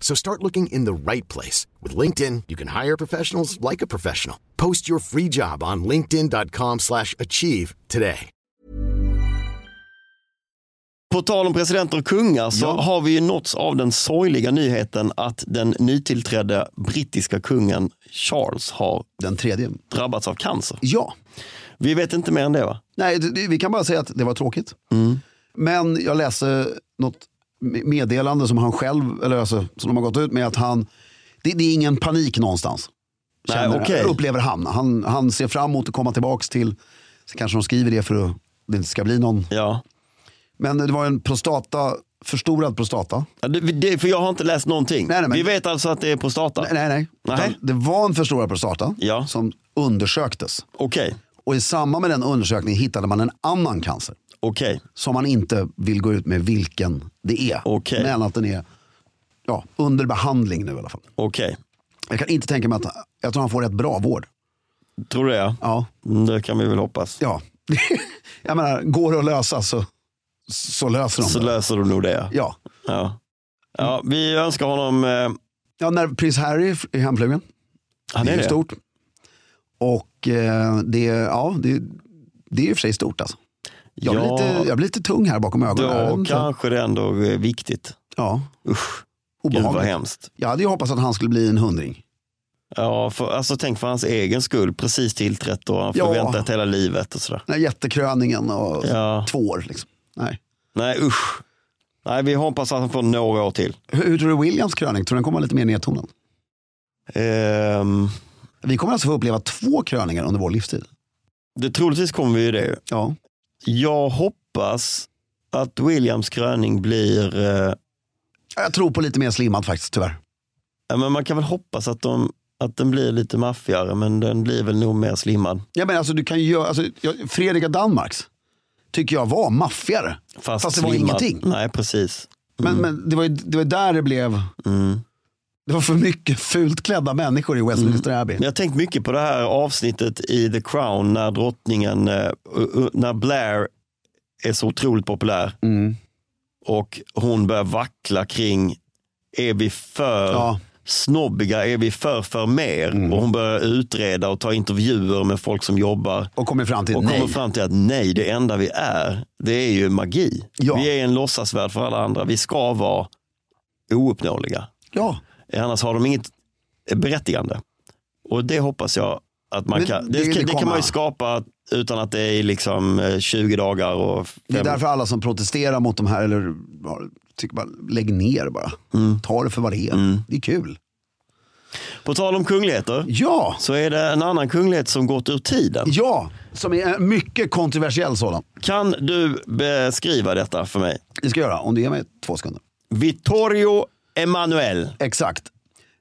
[SPEAKER 4] So start looking in the right place. With LinkedIn, you can hire professionals like a professional. Post your free job on linkedin.com/achieve slash achieve today.
[SPEAKER 3] På tal om presidenter och kungar så
[SPEAKER 2] Ja.
[SPEAKER 3] har vi ju nåtts av den sorgliga nyheten att den nytillträdde brittiska kungen Charles har
[SPEAKER 2] Den tredje.
[SPEAKER 3] drabbats av cancer.
[SPEAKER 2] Ja.
[SPEAKER 3] Vi vet inte mer än det va?
[SPEAKER 2] Nej, det- det- vi kan bara säga att det var tråkigt.
[SPEAKER 3] Mm.
[SPEAKER 2] Men jag läste något me- meddelande som han själv, eller alltså, som de har gått ut med, att han, det, det är ingen panik någonstans.
[SPEAKER 3] Nej,
[SPEAKER 2] Känner-
[SPEAKER 3] okej.
[SPEAKER 2] Upplever han. han. Han ser fram emot att komma tillbaks till, så kanske de skriver det för att det inte ska bli någon.
[SPEAKER 3] Ja.
[SPEAKER 2] Men det var en prostata, förstorad prostata.
[SPEAKER 3] Ja, Det, det, för jag har inte läst någonting.
[SPEAKER 2] Nej, nej, men-
[SPEAKER 3] Vi vet alltså att det är prostata.
[SPEAKER 2] Nej, nej. nej.
[SPEAKER 3] Nej.
[SPEAKER 2] Utan Det var en förstorad prostata
[SPEAKER 3] Ja.
[SPEAKER 2] som undersöktes.
[SPEAKER 3] Okej,
[SPEAKER 2] Och i samband med den undersökningen hittade man en annan cancer.
[SPEAKER 3] okej.
[SPEAKER 2] som man inte vill gå ut med vilken det är.
[SPEAKER 3] Okej.
[SPEAKER 2] Men att den är ja, under behandling nu i alla fall.
[SPEAKER 3] Okej,
[SPEAKER 2] Jag kan inte tänka mig att jag tror han får rätt bra vård.
[SPEAKER 3] tror du det? Ja.
[SPEAKER 2] Ja,
[SPEAKER 3] Mm, Det kan vi väl hoppas.
[SPEAKER 2] ja. jag menar, går det att lösa så, så löser de
[SPEAKER 3] Så
[SPEAKER 2] det.
[SPEAKER 3] löser du nog det.
[SPEAKER 2] ja.
[SPEAKER 3] Ja. Ja, vi önskar honom... Eh,
[SPEAKER 2] ja, när prins Harry är hemflugen.
[SPEAKER 3] han
[SPEAKER 2] det
[SPEAKER 3] är
[SPEAKER 2] är ju
[SPEAKER 3] det.
[SPEAKER 2] stort. Och eh, det, ja, det, det är i och för sig stort alltså. Jag, blir
[SPEAKER 3] Ja.
[SPEAKER 2] lite, jag blir lite tung här bakom ögonen. Jag vet
[SPEAKER 3] Då
[SPEAKER 2] inte.
[SPEAKER 3] kanske det ändå är viktigt.
[SPEAKER 2] Ja,
[SPEAKER 3] Usch, gud vad
[SPEAKER 2] obehagligt.
[SPEAKER 3] hemskt.
[SPEAKER 2] Jag hade ju hoppats att han skulle bli en hundring.
[SPEAKER 3] Ja, för, alltså, tänk för hans egen skull, precis tillträtt och han får
[SPEAKER 2] Ja.
[SPEAKER 3] vänta hela livet och sådär.
[SPEAKER 2] Den här jättekröningen och
[SPEAKER 3] Ja.
[SPEAKER 2] två år. Liksom. Nej.
[SPEAKER 3] Nej usch. Nej, vi hoppas att han får några år till.
[SPEAKER 2] Hur, hur tror du Williams kröning, tror du den kommer vara lite mer nedtonad?
[SPEAKER 3] Ehm,
[SPEAKER 2] Vi kommer alltså få uppleva två kröningar under vår livstid.
[SPEAKER 3] det, troligtvis kommer vi ju det. ju.
[SPEAKER 2] Ja.
[SPEAKER 3] Jag hoppas att Williams kröning blir, eh,
[SPEAKER 2] Jag tror på lite mer slimmad faktiskt, tyvärr.
[SPEAKER 3] ja, men man kan väl hoppas att, de, att den blir lite maffigare men den blir väl nog mer slimmad.
[SPEAKER 2] Ja, men alltså, du kan ju göra, alltså, jag, Fredrik av Danmarks tycker jag var maffigare.
[SPEAKER 3] Fast,
[SPEAKER 2] Fast det var
[SPEAKER 3] slimmad.
[SPEAKER 2] ingenting.
[SPEAKER 3] Nej, precis.
[SPEAKER 2] Men, men det, var ju, det var där det blev,
[SPEAKER 3] Mm.
[SPEAKER 2] det var för mycket fult klädda människor i Westminster Abbey.
[SPEAKER 3] Men Jag har tänkt mycket på det här avsnittet i The Crown när drottningen, eh, u- u- när Blair är så otroligt populär
[SPEAKER 2] Mm.
[SPEAKER 3] och hon börjar vackla kring, är vi för
[SPEAKER 2] Ja. Mm.
[SPEAKER 3] snobbiga, är vi för för mer? Och hon börjar utreda och ta intervjuer med folk som jobbar
[SPEAKER 2] Och kommer fram till,
[SPEAKER 3] och
[SPEAKER 2] nej.
[SPEAKER 3] kommer fram till att nej, det enda vi är, det är ju magi.
[SPEAKER 2] Ja.
[SPEAKER 3] Vi är en låtsasvärld för alla andra. Vi ska vara ouppnåeliga.
[SPEAKER 2] Ja.
[SPEAKER 3] Annars har de inget berättigande. Och det hoppas jag att man
[SPEAKER 2] Men
[SPEAKER 3] kan.
[SPEAKER 2] det
[SPEAKER 3] Det,
[SPEAKER 2] vill
[SPEAKER 3] det,
[SPEAKER 2] det
[SPEAKER 3] kan man
[SPEAKER 2] komma.
[SPEAKER 3] ju skapa utan att det är liksom eh, 20 dagar och fem.
[SPEAKER 2] Det är därför alla som protesterar mot de här, eller ja, tycker bara, lägg ner bara.
[SPEAKER 3] Mm.
[SPEAKER 2] Ta det för vad det är. Det är kul.
[SPEAKER 3] På tal om kungligheter
[SPEAKER 2] Ja,
[SPEAKER 3] så är det en annan kunglighet som gått ur tiden.
[SPEAKER 2] Ja, som är en mycket kontroversiell sådan.
[SPEAKER 3] Kan du beskriva detta för mig?
[SPEAKER 2] Det ska jag göra om du ger mig två sekunder.
[SPEAKER 3] Vittorio Emanuel,
[SPEAKER 2] Exakt.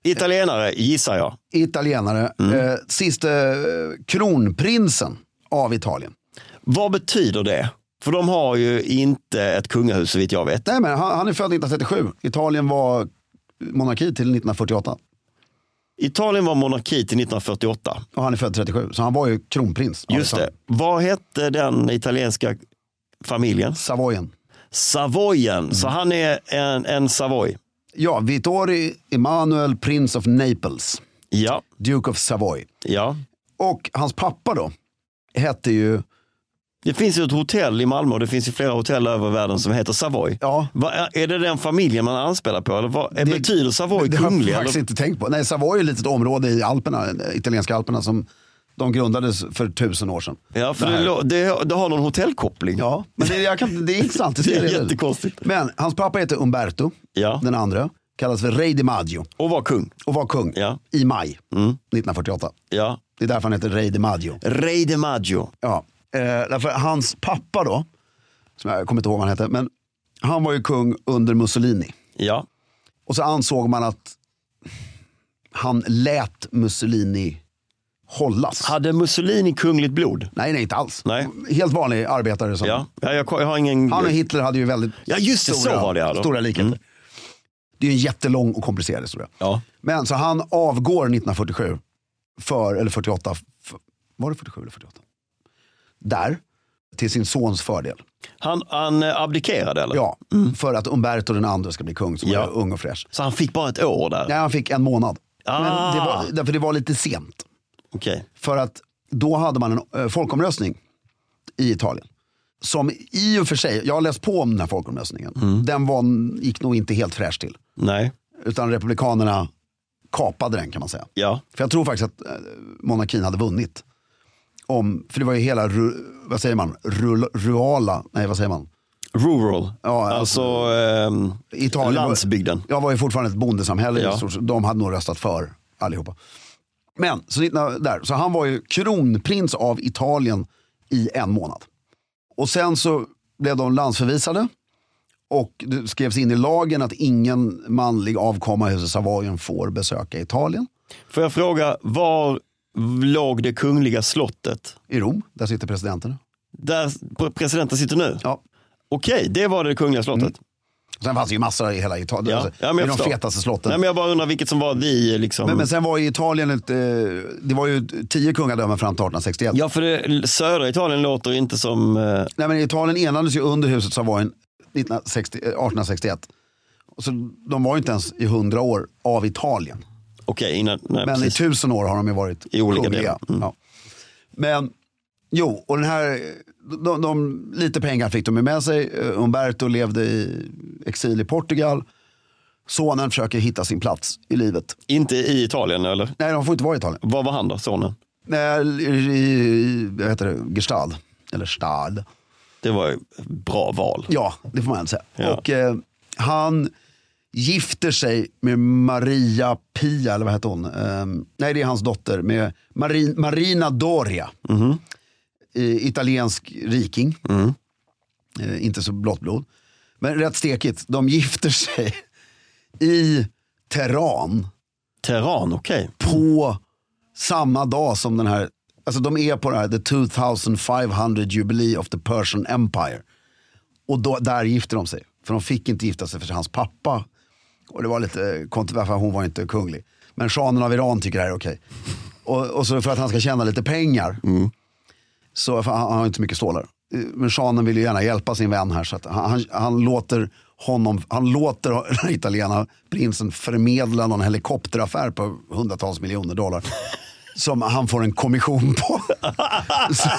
[SPEAKER 3] italienare gissar jag.
[SPEAKER 2] Italienare,
[SPEAKER 3] Mm.
[SPEAKER 2] eh, siste eh, kronprinsen av Italien.
[SPEAKER 3] Vad betyder det? För de har ju inte ett kungahus så vitt jag vet.
[SPEAKER 2] Nej, men han, han är född 1937. Italien var eh, monarki till 1948.
[SPEAKER 3] Italien var monarki till 1948.
[SPEAKER 2] Och han är född 37, så han var ju kronprins. av
[SPEAKER 3] Just det.
[SPEAKER 2] Italien.
[SPEAKER 3] Vad hette den italienska familjen?
[SPEAKER 2] Savoyen.
[SPEAKER 3] Savoyen. Så
[SPEAKER 2] Mm.
[SPEAKER 3] han är en, en Savoy.
[SPEAKER 2] Ja, Vittorio Emanuel, prins of Naples.
[SPEAKER 3] Ja,
[SPEAKER 2] Duke of Savoy.
[SPEAKER 3] ja.
[SPEAKER 2] Och hans pappa då, hette ju,
[SPEAKER 3] Det finns ju ett hotell i Malmö och det finns ju flera hotell över världen som heter Savoy.
[SPEAKER 2] ja,
[SPEAKER 3] Va, är det den familjen man anspelar på? Eller vad,
[SPEAKER 2] Det-
[SPEAKER 3] betyder Savoy
[SPEAKER 2] Det har
[SPEAKER 3] kunglig?
[SPEAKER 2] jag faktiskt
[SPEAKER 3] eller?
[SPEAKER 2] inte tänkt på. Nej, Savoy är ett litet område i Alperna, eh, italienska Alperna som de grundades för tusen år sedan.
[SPEAKER 3] Ja, för
[SPEAKER 2] Det
[SPEAKER 3] det,
[SPEAKER 2] här.
[SPEAKER 3] lo- det, det har någon hotellkoppling.
[SPEAKER 2] Ja, men det, jag kan, det är intressant.
[SPEAKER 3] Det är
[SPEAKER 2] ser det.
[SPEAKER 3] jättekonstigt.
[SPEAKER 2] Men hans pappa heter Umberto,
[SPEAKER 3] Ja.
[SPEAKER 2] den andra. Kallas för Rey Di Maggio
[SPEAKER 3] Och var kung.
[SPEAKER 2] och var kung
[SPEAKER 3] Ja. Mm.
[SPEAKER 2] i maj 1948.
[SPEAKER 3] Ja.
[SPEAKER 2] Det är därför han heter Rey Di Maggio.
[SPEAKER 3] Rey de Maggio.
[SPEAKER 2] Ja, eh, därför hans pappa då, som jag kommer inte ihåg vad han hette, men han var ju kung under Mussolini.
[SPEAKER 3] Ja.
[SPEAKER 2] Och så ansåg man att han lät Mussolini hållas.
[SPEAKER 3] Hade Mussolini kungligt blod?
[SPEAKER 2] Nej, nej, inte alls.
[SPEAKER 3] Nej.
[SPEAKER 2] Helt vanlig arbetare. Som...
[SPEAKER 3] Ja, ja jag, jag har ingen...
[SPEAKER 2] Han och Hitler hade ju väldigt
[SPEAKER 3] Ja, just det, så
[SPEAKER 2] stora,
[SPEAKER 3] var det, ja, då. Mm.
[SPEAKER 2] stora likheter. Det är ju en jättelång och komplicerad historia.
[SPEAKER 3] Ja.
[SPEAKER 2] Men så han avgår 1947, för, eller 48, för, var det 47 eller 48? Där, till sin sons fördel.
[SPEAKER 3] Han, han eh, abdikerade eller?
[SPEAKER 2] Ja, för att Umberto den andra ska bli kung som
[SPEAKER 3] Mm. Ja.
[SPEAKER 2] var ung och fräsch.
[SPEAKER 3] Så han fick bara ett år där?
[SPEAKER 2] Nej, han fick en månad.
[SPEAKER 3] Ah.
[SPEAKER 2] Men det var, därför det var lite sent.
[SPEAKER 3] Okej.
[SPEAKER 2] För att då hade man en eh, folkomröstning i Italien. som i och för sig, jag har läst på om den här folkomröstningen. Den var, gick nog inte helt fräsch till.
[SPEAKER 3] Nej,
[SPEAKER 2] Utan republikanerna kapade den kan man säga.
[SPEAKER 3] ja.
[SPEAKER 2] För jag tror faktiskt att eh, monarkin hade vunnit. Om, för det var ju hela, ru, vad säger man, Rul, ruala, nej vad säger man?
[SPEAKER 3] Rural,
[SPEAKER 2] Ja,
[SPEAKER 3] alltså ehm,
[SPEAKER 2] Italien var-
[SPEAKER 3] landsbygden.
[SPEAKER 2] Jag var ju fortfarande ett bondesamhälle. i
[SPEAKER 3] Ja.
[SPEAKER 2] stort sett. De hade nog röstat för allihopa. Men, så, 19, där, så han var ju kronprins av Italien i en månad. Och sen så blev de landsförvisade. Och det skrevs in i lagen att ingen manlig avkomma i huset Savoyen får besöka Italien.
[SPEAKER 3] Får jag fråga, var låg det kungliga slottet?
[SPEAKER 2] I Rom, där sitter presidenten. nu.
[SPEAKER 3] Där pre- presidenten sitter nu?
[SPEAKER 2] Ja. Mm,
[SPEAKER 3] Okej, det var det kungliga slottet.
[SPEAKER 2] Sen fanns det ju massor i hela Italien.
[SPEAKER 3] Ja.
[SPEAKER 2] Alltså,
[SPEAKER 3] Ja, men
[SPEAKER 2] det är
[SPEAKER 3] jag
[SPEAKER 2] de
[SPEAKER 3] förstår.
[SPEAKER 2] fetaste slotten.
[SPEAKER 3] Nej, men jag bara undrar vilket som var vi. Liksom.
[SPEAKER 2] men, men sen var ju Italien ett, eh, det var ju tio kungadömen fram till 1861.
[SPEAKER 3] Ja, för det, södra Italien låter inte som... Eh,
[SPEAKER 2] Nej, men Italien enades ju under huset Savoyen 1960, eh, 1861. Och Så de var ju inte ens i hundra år av Italien.
[SPEAKER 3] Okej, innan... Nej,
[SPEAKER 2] Men
[SPEAKER 3] precis.
[SPEAKER 2] i tusen år har de ju varit
[SPEAKER 3] I olika
[SPEAKER 2] kungliga.
[SPEAKER 3] delar. Mm.
[SPEAKER 2] Ja. Men jo, och den här, de, de, lite pengar fick de ju med sig. Eh, Umberto levde i exil i Portugal. Sonen försöker hitta sin plats i livet.
[SPEAKER 3] Inte i Italien, eller?
[SPEAKER 2] Nej, de får inte vara i Italien.
[SPEAKER 3] Var var han då, sonen?
[SPEAKER 2] Nej, i, i vad heter det, Gestad. Eller Stad.
[SPEAKER 3] Det var ju ett bra val.
[SPEAKER 2] Ja, det får man ändå säga.
[SPEAKER 3] Ja.
[SPEAKER 2] Och eh, han gifter sig med Maria Pia, eller vad heter hon? Ehm, nej, det är hans dotter. Med Marin, Marina Doria. I, italiensk riking. Eh, inte så blått blod. Men rätt stekigt. De gifter sig i Teheran
[SPEAKER 3] Teheran, okej.
[SPEAKER 2] på samma dag som den här, alltså de är på det här the 2500 jubilee of the Persian Empire. Och då, där gifter de sig. För de fick inte gifta sig för hans pappa. Och det var lite kontroversiellt, för hon var inte kunglig. Men shahen av Iran tycker det här är okej. Och, och så för att han ska tjäna lite pengar. Så för han, han har inte så mycket stålar. Eh, Men shahen vill ju gärna hjälpa sin vän här. Så att han, han, han låter honom, han låter den här italienaren, prinsen förmedla någon helikopteraffär på hundratals miljoner dollar. Som han får en kommission på. Så-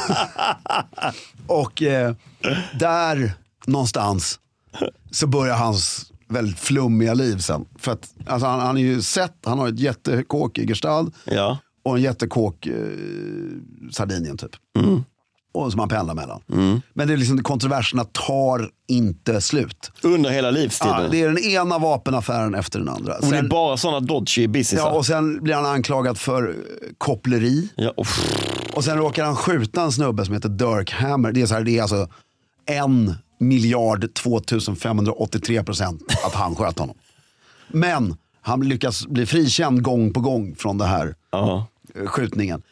[SPEAKER 2] och eh, där någonstans så börjar hans väldigt flummiga liv sen. För att alltså, han, han är ju sett, han har ett jättekåk i Gestad
[SPEAKER 3] Ja.
[SPEAKER 2] och en jättekåk eh, Sardinien typ.
[SPEAKER 3] Mm.
[SPEAKER 2] Och som han pendlar mellan. Men det är liksom, kontroverserna tar inte slut.
[SPEAKER 3] Under hela livstiden.
[SPEAKER 2] Ja, det är den ena vapenaffären efter den andra.
[SPEAKER 3] Och det är
[SPEAKER 2] Sen,
[SPEAKER 3] bara sådana dodgy businessar.
[SPEAKER 2] ja,
[SPEAKER 3] Ja,
[SPEAKER 2] och sen blir han anklagad för eh, koppleri.
[SPEAKER 3] och pff,
[SPEAKER 2] Och sen råkar han skjuta en snubbe som heter Dirk Hammer. Det är, så här, det är alltså en miljard 2583 procent att han sköt honom. Men han lyckas bli frikänd gång på gång från det här
[SPEAKER 3] ja.
[SPEAKER 2] eh, skjutningen.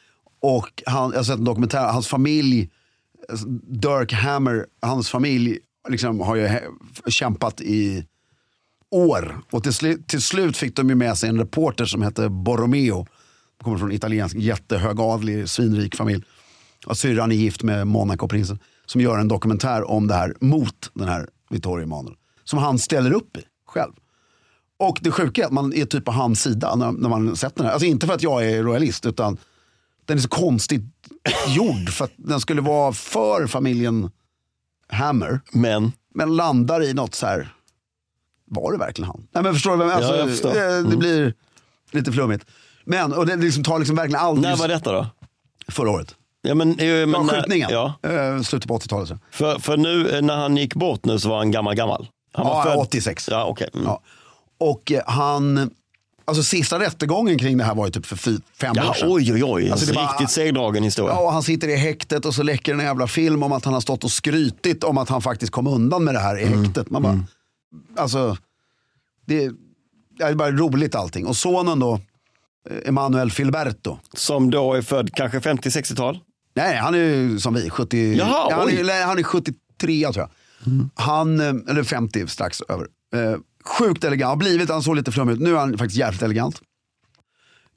[SPEAKER 2] Och han, jag har sett en dokumentär, hans familj, alltså Dirk Hammer, hans familj liksom har ju he- kämpat i år. Och till, slu, till slut fick de ju med sig en reporter som hette Borromeo. Kommer från italiensk, jättehögadlig, svinrik familj. Och syrran är gift med Monaco-prinsen. Som gör en dokumentär om det här mot den här Vittorio Emanuel. Som han ställer upp i själv. Och det sjuka är att man är typ på hans sida när, när man sett den här. Alltså inte för att jag är royalist utan den är så konstigt gjord för att den skulle vara för familjen Hammer.
[SPEAKER 3] Men,
[SPEAKER 2] Men landar i något så här. Var det verkligen han? Nej men förstår du? vem- Alltså,
[SPEAKER 3] jag förstår. Mm.
[SPEAKER 2] Det, det blir lite flummigt. Men, och det liksom tar liksom verkligen allt.
[SPEAKER 3] när var detta då?
[SPEAKER 2] Förra året.
[SPEAKER 3] Ja, men, eh, men,
[SPEAKER 2] Ja,
[SPEAKER 3] när-
[SPEAKER 2] skjutningen.
[SPEAKER 3] Ja,
[SPEAKER 2] Eh, slutet på 80-talet. tror jag.
[SPEAKER 3] för, för nu eh, när han gick bort nu så var han gammal, gammal. Han var
[SPEAKER 2] Ja,
[SPEAKER 3] född...
[SPEAKER 2] 86.
[SPEAKER 3] Ja, okej. Mm.
[SPEAKER 2] Ja. Och eh, han, alltså sista rättegången kring det här var ju typ för fy, fem år
[SPEAKER 3] Ja,
[SPEAKER 2] sedan.
[SPEAKER 3] oj, oj, oj.
[SPEAKER 2] Alltså, det var-
[SPEAKER 3] Riktigt segdragen historia.
[SPEAKER 2] Ja, och han sitter i häktet och så läcker en jävla film om att han har stått och skrytit om att han faktiskt kom undan med det här i
[SPEAKER 3] Mm.
[SPEAKER 2] häktet. Man bara, alltså, det, är- det är bara roligt allting. Och sonen då, eh, Emanuel Filberto.
[SPEAKER 3] Som då är född kanske 50-60-tal.
[SPEAKER 2] Nej, han är ju som vi, 70,
[SPEAKER 3] Jaha,
[SPEAKER 2] han,
[SPEAKER 3] oj. Mm.
[SPEAKER 2] är, nej, han är 73 tror jag. Han, eh, eller 50 strax över. Eh, sjukt elegant, har blivit, han såg lite flummig ut. Nu är han faktiskt jävligt elegant.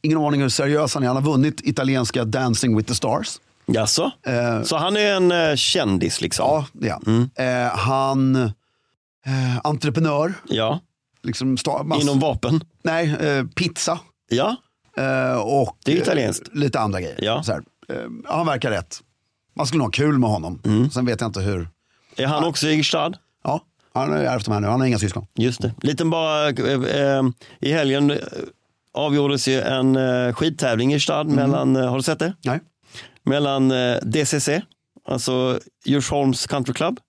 [SPEAKER 2] Ingen aning hur seriös han är. Han har vunnit italienska Dancing with the Stars.
[SPEAKER 3] Jaså?
[SPEAKER 2] Eh,
[SPEAKER 3] Så han är en eh, kändis liksom?
[SPEAKER 2] Ja, det är han.
[SPEAKER 3] Mm.
[SPEAKER 2] Eh, han eh, entreprenör,
[SPEAKER 3] Ja.
[SPEAKER 2] liksom sta, mass,
[SPEAKER 3] Inom vapen?
[SPEAKER 2] nej, eh, pizza
[SPEAKER 3] Ja.
[SPEAKER 2] eh, och
[SPEAKER 3] Det är italienskt.
[SPEAKER 2] Eh, lite andra grejer.
[SPEAKER 3] Ja. Mm.
[SPEAKER 2] Så här. Eh, han verkar rätt. Man skulle nog ha kul med honom. Sen vet jag inte hur.
[SPEAKER 3] Är han också i Irstad?
[SPEAKER 2] Ja, han har ärvt de här nu. Han har inga syskon.
[SPEAKER 3] Just det. Liten bara, eh, eh, i helgen eh, avgjordes ju en eh, skidtävling i Irstad
[SPEAKER 2] Mm.
[SPEAKER 3] mellan, eh, har du sett det?
[SPEAKER 2] Nej.
[SPEAKER 3] Mellan eh, DCC, alltså Djursholms Country Club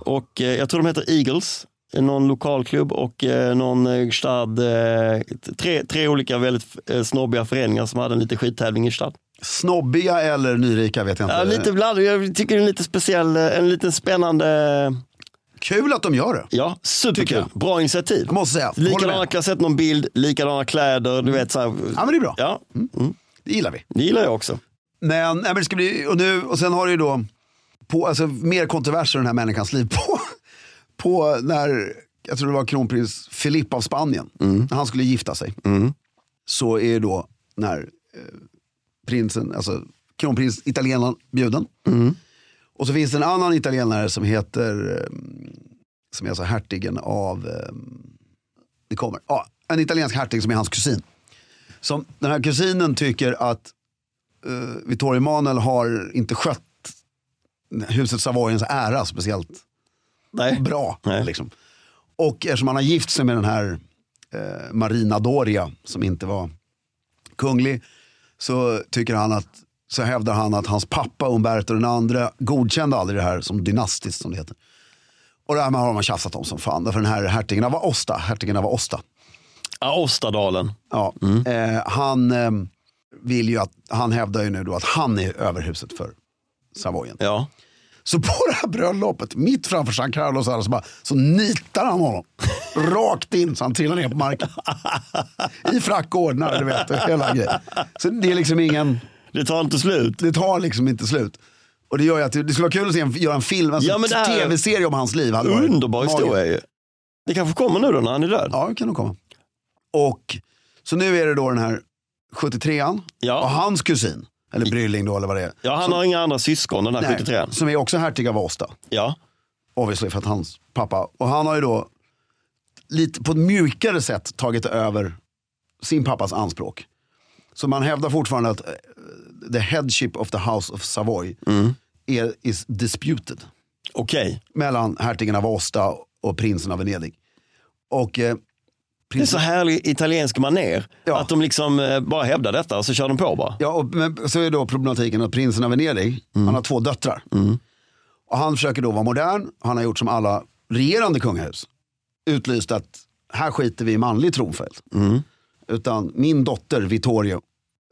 [SPEAKER 3] och eh, jag tror de heter Eagles, eh, någon lokal klubb och eh, någon eh, stad, eh, tre, tre olika väldigt eh, snobbiga föreningar som hade en liten skidtävling i stad. Eh.
[SPEAKER 2] Snobbiga eller nyrika vet jag inte.
[SPEAKER 3] Ja, lite bland, jag tycker det är en lite speciell, eh, en liten spännande,
[SPEAKER 2] Kul att de gör det.
[SPEAKER 3] ja
[SPEAKER 2] Tycker
[SPEAKER 3] superkul,
[SPEAKER 2] jag.
[SPEAKER 3] bra initiativ.
[SPEAKER 2] Jag måste säga. Håller
[SPEAKER 3] Likadana,
[SPEAKER 2] med.
[SPEAKER 3] jag har sett någon bild, likadana kläder, du vet så här.
[SPEAKER 2] Ja, men det är bra.
[SPEAKER 3] Ja, mm.
[SPEAKER 2] Det gillar vi.
[SPEAKER 3] det gillar jag också.
[SPEAKER 2] Men, nej, men det ska bli, och, nu, och sen har du ju då på, alltså, mer kontroverser i den här människans liv. På, på när, jag tror det var kronprins Filipp av Spanien, när han skulle gifta sig. Så är då när eh, prinsen, alltså kronprins italienaren bjuden. Och så finns det en annan italienare som heter, eh, som är alltså hertigen av, eh, det kommer, ja, en italiensk hertig som är hans kusin. Som den här kusinen tycker att eh, Vittorio Emanuel har inte skött huset Savoyens ära speciellt
[SPEAKER 3] Nej.
[SPEAKER 2] bra.
[SPEAKER 3] Nej.
[SPEAKER 2] Liksom. Och eftersom han har gift sig med den här eh, Marina Doria som inte var kunglig så tycker han att så hävdar han att hans pappa Umberto den andra godkände aldrig det här som dynastiskt som det heter. Och det här har man tjafsat om som fan. Därför den här hertigen av Aosta, hertigen av Aosta.
[SPEAKER 3] Aostadalen.
[SPEAKER 2] Ja,
[SPEAKER 3] Mm.
[SPEAKER 2] eh, han eh, vill ju att, han hävdar ju nu då att han är överhuset för Savoyen.
[SPEAKER 3] Ja.
[SPEAKER 2] Så på det här bröllopet, mitt framför San Carlos, alla så, bara, så nitar han honom. Rakt in så han trillar ner på marken. I frack och ordnar, du vet. och Hela grejen. Så det är liksom ingen,
[SPEAKER 3] Det tar inte slut.
[SPEAKER 2] det tar liksom inte slut. Och det gör ju att det, det skulle vara kul att se en, göra en film, en
[SPEAKER 3] Ja, men det här-
[SPEAKER 2] tv-serie om hans liv. hade varit
[SPEAKER 3] Underbar
[SPEAKER 2] magiskt.
[SPEAKER 3] historia ju. Det kanske kommer nu då när han är död.
[SPEAKER 2] Ja, det kan nog komma. Och så nu är det då den här 73an
[SPEAKER 3] Ja.
[SPEAKER 2] och hans kusin, eller brylling då eller vad det är.
[SPEAKER 3] Ja, han har inga andra syskon den här 73
[SPEAKER 2] som är också hertig av Åsta,
[SPEAKER 3] Ja,
[SPEAKER 2] obviously för att hans pappa, och han har ju då lite på ett mjukare sätt tagit över sin pappas anspråk. Så man hävdar fortfarande att eh, the headship of the house of Savoy är, is disputed
[SPEAKER 3] okej.
[SPEAKER 2] mellan hertigen av Åsta och prinsen av Venedig. Och eh,
[SPEAKER 3] Det är så härlig italiensk maner
[SPEAKER 2] Ja.
[SPEAKER 3] Att de liksom eh, bara hävdar detta och så kör de på bara.
[SPEAKER 2] Ja, och, men så är då problematiken att prinsen av Venedig, han har två döttrar. Och han försöker då vara modern, han har gjort som alla regerande kungahus. Utlyst att här skiter vi i manlig tronföljd. Utan min dotter Vittorio,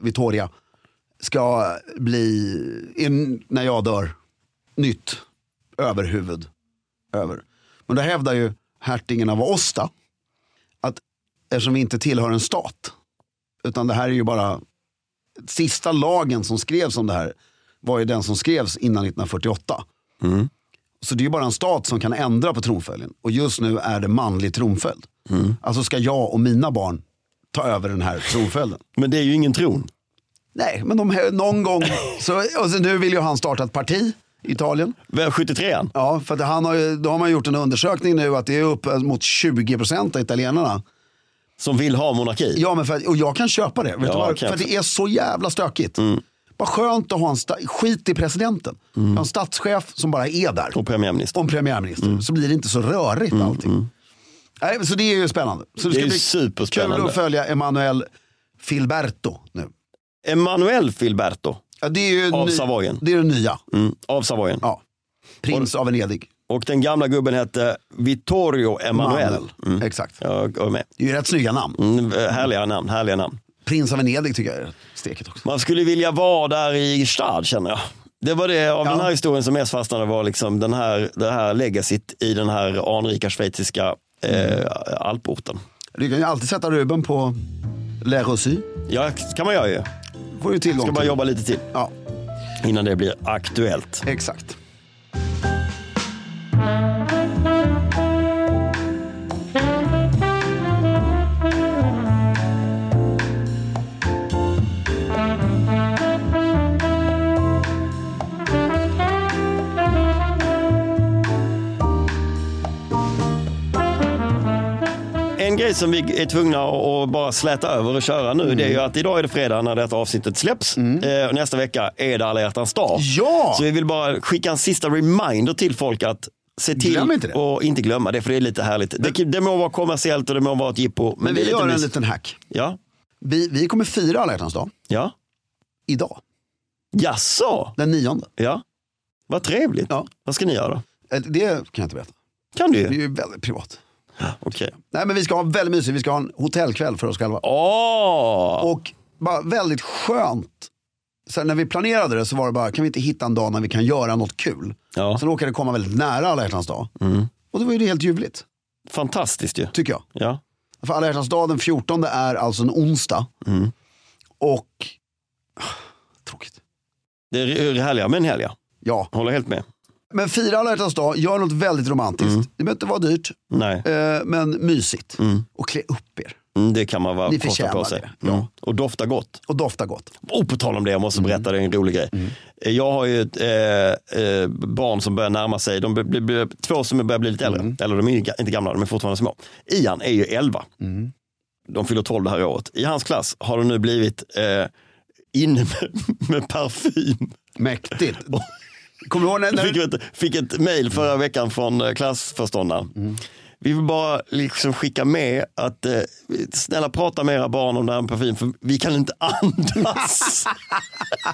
[SPEAKER 2] Vittoria ska bli, in, när jag dör, nytt överhuvud. Över. Men då hävdar ju hertigen av Osta att eftersom vi inte tillhör en stat, utan det här är ju bara sista lagen som skrevs om det här var ju den som skrevs innan 1948. Så det är ju bara en stat som kan ändra på tronföljden. Och just nu är det manlig tronföljd. Alltså ska jag och mina barn ta över den här tronföljden.
[SPEAKER 3] Men det är ju ingen tron.
[SPEAKER 2] Nej, men de, någon gång. Så, och så nu vill ju han starta ett parti i Italien.
[SPEAKER 3] Vem, 73an?
[SPEAKER 2] Ja, för att han har ju, då har man gjort en undersökning nu att det är upp mot 20% av italienarna.
[SPEAKER 3] Som vill ha monarki.
[SPEAKER 2] Ja, men för, att- och jag kan köpa det. Vet du
[SPEAKER 3] Ja,
[SPEAKER 2] vad?
[SPEAKER 3] kan
[SPEAKER 2] För
[SPEAKER 3] jag Mm.
[SPEAKER 2] att det är så jävla stökigt. Vad skönt att ha en sta- skit i presidenten. Jag har En statschef som bara är där.
[SPEAKER 3] Och Mm. premiärminister.
[SPEAKER 2] Om premiärminister. Så blir det inte så rörigt allting. Nej, så det är ju spännande. Så
[SPEAKER 3] mm. Det är ju
[SPEAKER 2] kul
[SPEAKER 3] superspännande.
[SPEAKER 2] att följa Emanuel Filberto nu.
[SPEAKER 3] Emanuel Filberto
[SPEAKER 2] Ja, det är ju
[SPEAKER 3] av
[SPEAKER 2] ny-
[SPEAKER 3] Savoyen.
[SPEAKER 2] det är det nya.
[SPEAKER 3] Mm, av Savoyen.
[SPEAKER 2] Ja. Prins av Venedig.
[SPEAKER 3] Och den gamla gubben hette Vittorio Emanuel.
[SPEAKER 2] Manuel. Exakt.
[SPEAKER 3] Jag är med.
[SPEAKER 2] Det är ju rätt snygga namn.
[SPEAKER 3] Mm, härliga namn, härliga namn.
[SPEAKER 2] Prins av Venedig tycker jag är steket också.
[SPEAKER 3] Man skulle vilja vara där i stad känner jag. Det var det av den här historien som mest fastnade var liksom den här, det här legacyt i den här anrika schweiziska eh, alporten.
[SPEAKER 2] Du kan ju alltid sätta Ruben på Le Rosy.
[SPEAKER 3] Ja, kan man göra ju.
[SPEAKER 2] Får ju tillgång
[SPEAKER 3] Ska bara
[SPEAKER 2] till.
[SPEAKER 3] jobba lite till
[SPEAKER 2] Ja,
[SPEAKER 3] innan det blir aktuellt.
[SPEAKER 2] exakt.
[SPEAKER 3] En grej grej som vi är tvungna att att bara släta över och köra nu, det är ju att idag är det fredag när detta avsnittet släpps. Eh, och nästa vecka är det alla hjärtans dag.
[SPEAKER 2] Ja!
[SPEAKER 3] Så vi vill bara skicka en sista reminder till folk att se till
[SPEAKER 2] Glöm inte det.
[SPEAKER 3] och inte glömma det, för det är lite härligt. det, det må vara kommersiellt och det må vara ett jippo. Men,
[SPEAKER 2] Men
[SPEAKER 3] det
[SPEAKER 2] vi
[SPEAKER 3] är lite
[SPEAKER 2] gör en
[SPEAKER 3] mys.
[SPEAKER 2] liten hack.
[SPEAKER 3] Ja,
[SPEAKER 2] Vi, vi kommer fira alla hjärtans dag
[SPEAKER 3] ja.
[SPEAKER 2] idag,
[SPEAKER 3] Jaså?
[SPEAKER 2] den nionde.
[SPEAKER 3] Ja. Vad trevligt.
[SPEAKER 2] Ja.
[SPEAKER 3] Vad ska ni göra?
[SPEAKER 2] Eh, Det kan jag inte berätta.
[SPEAKER 3] Kan du?
[SPEAKER 2] Det är
[SPEAKER 3] ju.
[SPEAKER 2] ju väldigt privat.
[SPEAKER 3] Okej.
[SPEAKER 2] Nej men vi ska ha väldigt mysigt, vi ska ha en hotellkväll för oss själva.
[SPEAKER 3] Åh!
[SPEAKER 2] Och bara väldigt skönt. Sen när vi planerade det så var det bara, kan vi inte hitta en dag när vi kan göra något kul?
[SPEAKER 3] Ja.
[SPEAKER 2] Sen råkade det komma väldigt nära alla hjärtans dag. Och då var ju det helt ljuvligt,
[SPEAKER 3] Fantastiskt ju.
[SPEAKER 2] tycker jag.
[SPEAKER 3] Ja.
[SPEAKER 2] För alla hjärtans dag den 14 är alltså en onsdag.
[SPEAKER 3] Mm.
[SPEAKER 2] Och... ah, Tråkigt.
[SPEAKER 3] Det är r- härliga men härliga.
[SPEAKER 2] Ja,
[SPEAKER 3] Håller helt med.
[SPEAKER 2] men fira alla hjärtans dag, gör något väldigt romantiskt.
[SPEAKER 3] Mm.
[SPEAKER 2] Det behöver inte vara dyrt,
[SPEAKER 3] Nej,
[SPEAKER 2] eh, men mysigt. Och klä upp er.
[SPEAKER 3] mm, det kan man vara
[SPEAKER 2] Ni
[SPEAKER 3] kosta
[SPEAKER 2] förtjänar
[SPEAKER 3] på sig.
[SPEAKER 2] det. Ja.
[SPEAKER 3] Mm. Och dofta gott.
[SPEAKER 2] Och dofta gott.
[SPEAKER 3] Och på tal om det, jag måste berätta det är en rolig grej. Jag har ju ett eh, eh, barn som börjar närma sig, de blir, blir, blir, två som börjar bli lite äldre. Eller de är ju ga- inte gamla, de är fortfarande små. Ian är ju 11. De fyller 12 det här året. I hans klass har det nu blivit eh, inne med, med parfym.
[SPEAKER 2] Mäktigt. Kommer du ihåg när...
[SPEAKER 3] Jag
[SPEAKER 2] när
[SPEAKER 3] fick, ett, fick ett mail
[SPEAKER 2] Mm.
[SPEAKER 3] förra veckan från eh, klassföreståndaren. Vi vill bara liksom skicka med att eh, snälla prata med era barn om den här parfym för vi kan inte andas.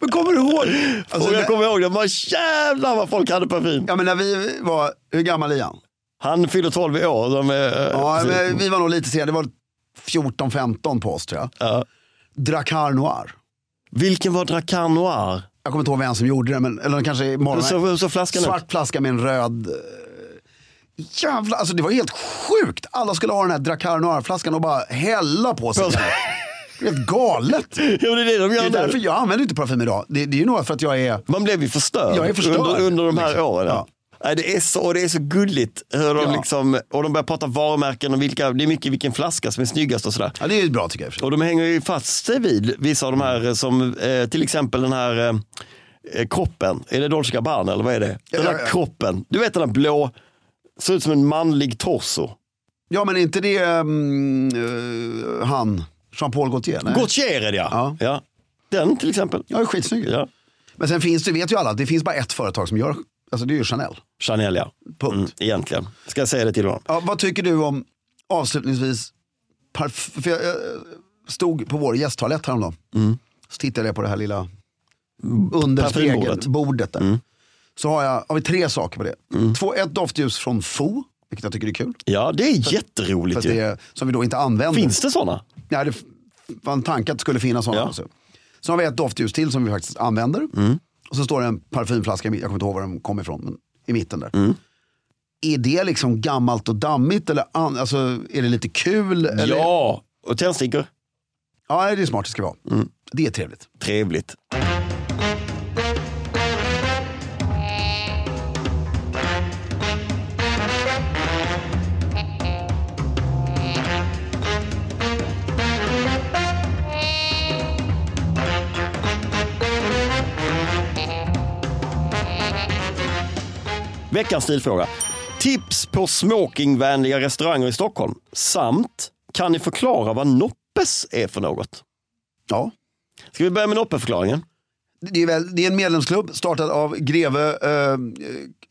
[SPEAKER 2] Men kommer du ihåg? Alltså,
[SPEAKER 3] och
[SPEAKER 2] när-
[SPEAKER 3] jag kommer ihåg det, bara jävlar vad folk hade parfym.
[SPEAKER 2] Ja, men när vi var, hur gammal är han?
[SPEAKER 3] Han fyller 12 i år. De är, eh,
[SPEAKER 2] Ja,
[SPEAKER 3] precis.
[SPEAKER 2] men vi var nog lite senare, det var 14-15 på oss tror jag.
[SPEAKER 3] Ja.
[SPEAKER 2] Dracar Noir.
[SPEAKER 3] Vilken var Dracar Noir?
[SPEAKER 2] Jag kommer inte ihåg vem som gjorde det, men, eller kanske i
[SPEAKER 3] Hur
[SPEAKER 2] morgon.
[SPEAKER 3] såg hur såg flaskan ut?
[SPEAKER 2] Svart flaska med en röd... eh, Jävlar, alltså det var helt sjukt. Alla skulle ha den här Dracar Noir-flaskan och bara hälla på sig.
[SPEAKER 3] På
[SPEAKER 2] den.
[SPEAKER 3] sig.
[SPEAKER 2] Det är Helt galet.
[SPEAKER 3] Jo, det är det de
[SPEAKER 2] Det är
[SPEAKER 3] gör
[SPEAKER 2] därför
[SPEAKER 3] nu.
[SPEAKER 2] jag använder inte parfym idag. Det, det är ju nog för att jag är...
[SPEAKER 3] Man blev ju förstörd,
[SPEAKER 2] Jag är förstörd,
[SPEAKER 3] under, under de här
[SPEAKER 2] liksom.
[SPEAKER 3] åren.
[SPEAKER 2] Ja.
[SPEAKER 3] Nej, det, är så, och det är så gulligt hur de
[SPEAKER 2] Ja.
[SPEAKER 3] liksom, och de börjar prata varumärken och vilka, det är mycket vilken flaska som är snyggast och sådär.
[SPEAKER 2] Ja, det är ju bra tycker jag. i och för sig.
[SPEAKER 3] Och de hänger ju fast sig vid vissa av de här eh, som eh, till exempel den här eh, eh, kroppen. Är det Dolce Gabbana eller vad är det?
[SPEAKER 2] Ja,
[SPEAKER 3] Den här
[SPEAKER 2] ja.
[SPEAKER 3] kroppen. Du vet den där blå, ser ut som en manlig torso.
[SPEAKER 2] Ja, men är inte det mm, eh, han, Jean-Paul Gaultier? Nej.
[SPEAKER 3] Gaultier är det ja.
[SPEAKER 2] Ja.
[SPEAKER 3] ja. Den till exempel.
[SPEAKER 2] Ja, det är skitsnygg.
[SPEAKER 3] Ja.
[SPEAKER 2] Men sen finns det, vet ju alla, att det finns bara ett företag som gör, alltså det är ju Chanel.
[SPEAKER 3] Chanel ja.
[SPEAKER 2] Punkt.
[SPEAKER 3] Mm, egentligen. Ska jag säga det till honom?
[SPEAKER 2] Ja, vad tycker du om, avslutningsvis, parf- för jag, jag stod på vår gästtoalett häromdagen. Så tittade jag på det här lilla under
[SPEAKER 3] parfymbordet.
[SPEAKER 2] spegeln, bordet där. Så har jag, har vi tre saker på det. Två, ett doftljus från Fo, vilket jag tycker är kul.
[SPEAKER 3] Ja, det är
[SPEAKER 2] För
[SPEAKER 3] jätteroligt
[SPEAKER 2] att det
[SPEAKER 3] ju.
[SPEAKER 2] är, som vi då inte använder.
[SPEAKER 3] Finns det sådana?
[SPEAKER 2] Nej, det f- var en tanke att det skulle finnas sådana.
[SPEAKER 3] Ja. Mm.
[SPEAKER 2] Alltså. Sen har vi ett doftljus till som vi faktiskt använder. Och så står det en parfymflaska, i mitten. jag kommer inte ihåg var den kom ifrån, men i mitten där.
[SPEAKER 3] Mm.
[SPEAKER 2] Är det liksom gammalt och dammigt eller an- alltså, är det lite kul? Eller?
[SPEAKER 3] Ja, och tändstickor.
[SPEAKER 2] ja, det är smart, det ska vi ha.
[SPEAKER 3] Mm.
[SPEAKER 2] Det är trevligt.
[SPEAKER 3] Trevligt. Veckans stilfråga. Tips på smokingvänliga restauranger i Stockholm samt kan ni förklara vad noppes är för något?
[SPEAKER 2] Ja.
[SPEAKER 3] Ska vi börja med noppeförklaringen?
[SPEAKER 2] Det, är väl, det är en medlemsklubb startad av greve eh,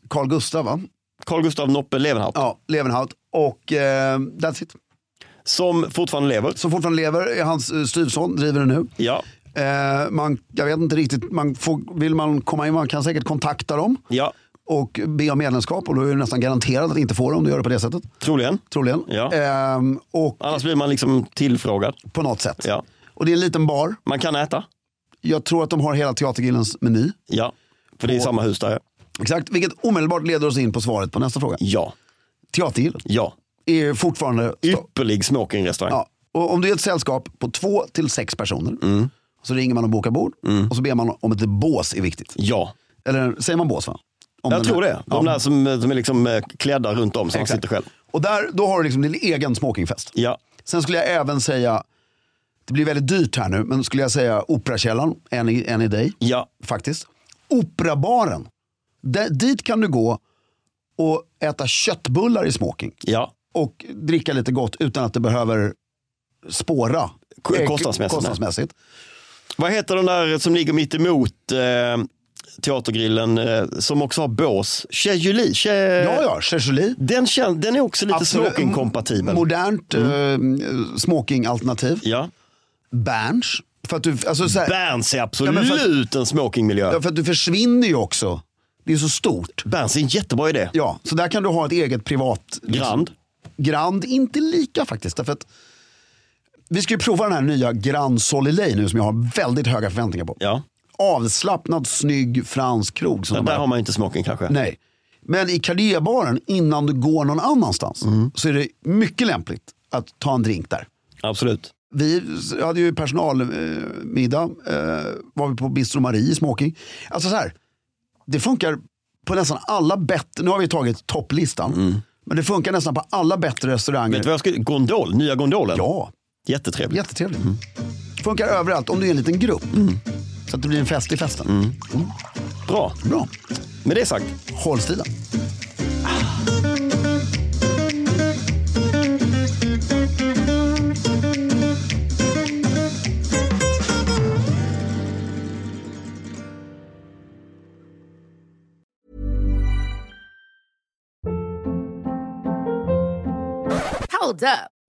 [SPEAKER 2] Carl Gustav, va?
[SPEAKER 3] Carl Gustav Noppe Levenhaupt,
[SPEAKER 2] Ja, Levenhaut. Och eh, that's it.
[SPEAKER 3] som fortfarande lever.
[SPEAKER 2] Som fortfarande lever, är hans eh, styvson, driver den nu.
[SPEAKER 3] Ja,
[SPEAKER 2] Eh, man, jag vet inte riktigt, man får, vill man komma in, man kan säkert kontakta dem
[SPEAKER 3] ja
[SPEAKER 2] och be om medlemskap och då är det nästan garanterat att inte få det om du gör det på det sättet.
[SPEAKER 3] troligen.
[SPEAKER 2] Troligen.
[SPEAKER 3] Ja.
[SPEAKER 2] Ehm, och
[SPEAKER 3] Annars blir man liksom tillfrågad.
[SPEAKER 2] på något sätt.
[SPEAKER 3] Ja.
[SPEAKER 2] Och det är en liten bar.
[SPEAKER 3] Man kan äta.
[SPEAKER 2] Jag tror att de har hela Teatergrillens meny.
[SPEAKER 3] Ja, för det är
[SPEAKER 2] Och-
[SPEAKER 3] samma hus där.
[SPEAKER 2] Exakt, vilket omedelbart leder oss in på svaret på nästa fråga.
[SPEAKER 3] Ja,
[SPEAKER 2] Teatergrillen
[SPEAKER 3] ja.
[SPEAKER 2] är ju fortfarande...
[SPEAKER 3] Ypperlig smokingrestaurang.
[SPEAKER 2] Ja. Och om du är ett sällskap på två till sex personer
[SPEAKER 3] Mm.
[SPEAKER 2] så ringer man och bokar bord och så ber man om ett bås är viktigt.
[SPEAKER 3] Ja,
[SPEAKER 2] Eller säger man bås va? Om
[SPEAKER 3] jag
[SPEAKER 2] den
[SPEAKER 3] tror
[SPEAKER 2] här-
[SPEAKER 3] det. De där som, som är liksom eh, klädda runt om, som man sitter själv.
[SPEAKER 2] Och där, då har du liksom din egen smokingfest.
[SPEAKER 3] Ja,
[SPEAKER 2] Sen skulle jag även säga, det blir väldigt dyrt här nu, men skulle jag säga Operakällaren, en i, en i dig
[SPEAKER 3] ja,
[SPEAKER 2] faktiskt. Operabaren, där, dit kan du gå och äta köttbullar i smoking.
[SPEAKER 3] ja.
[SPEAKER 2] och dricka lite gott utan att det behöver spåra.
[SPEAKER 3] Ko-
[SPEAKER 2] Eh,
[SPEAKER 3] kostnadsmässigt,
[SPEAKER 2] kostnadsmässigt.
[SPEAKER 3] Vad heter den där som ligger mitt emot eh, teatergrillen eh, som också har bås? Chez Julie? Chez...
[SPEAKER 2] Ja, ja, Chechuli.
[SPEAKER 3] Den, kän- den är också lite
[SPEAKER 2] Absolut.
[SPEAKER 3] Eh, smoking-kompatibel. Mm.
[SPEAKER 2] Modernt eh, smoking-alternativ.
[SPEAKER 3] Ja.
[SPEAKER 2] Berns. För att du, alltså, så här,
[SPEAKER 3] Berns är
[SPEAKER 2] Ja, men
[SPEAKER 3] absolut en
[SPEAKER 2] ja,
[SPEAKER 3] smokingmiljö.
[SPEAKER 2] för att du försvinner ju också. Det är så stort.
[SPEAKER 3] Berns är en jättebra idé.
[SPEAKER 2] Ja, så där kan du ha ett eget privat. liksom,
[SPEAKER 3] Grand.
[SPEAKER 2] Grand, inte lika faktiskt. Därför att vi ska ju prova den här nya Grand Solilei nu som jag har väldigt höga förväntningar på.
[SPEAKER 3] Ja.
[SPEAKER 2] Avslappnad, snygg fransk krog. Som de
[SPEAKER 3] Där
[SPEAKER 2] är.
[SPEAKER 3] har man ju inte smoking kanske.
[SPEAKER 2] Nej. Men i Cardea-baren innan du går någon annanstans
[SPEAKER 3] Mm.
[SPEAKER 2] så är det mycket lämpligt att ta en drink där.
[SPEAKER 3] Absolut.
[SPEAKER 2] Vi hade ju personalmiddag, eh, var vi på Bistro Marie i Smoking. Alltså så här, det funkar på nästan alla bättre, nu har vi tagit topplistan, men det funkar nästan på alla bättre restauranger.
[SPEAKER 3] Mm. Vet du vad jag skulle... Gondol, nya gondolen.
[SPEAKER 2] Ja,
[SPEAKER 3] Jättetrevligt.
[SPEAKER 2] jättetrevligt. Funkar överallt om du är en liten grupp.
[SPEAKER 3] Mm.
[SPEAKER 2] Så att det blir en fest i festen. Mm.
[SPEAKER 3] Bra.
[SPEAKER 2] Bra,
[SPEAKER 3] Med det sagt.
[SPEAKER 2] håll stilen.
[SPEAKER 1] Hold up.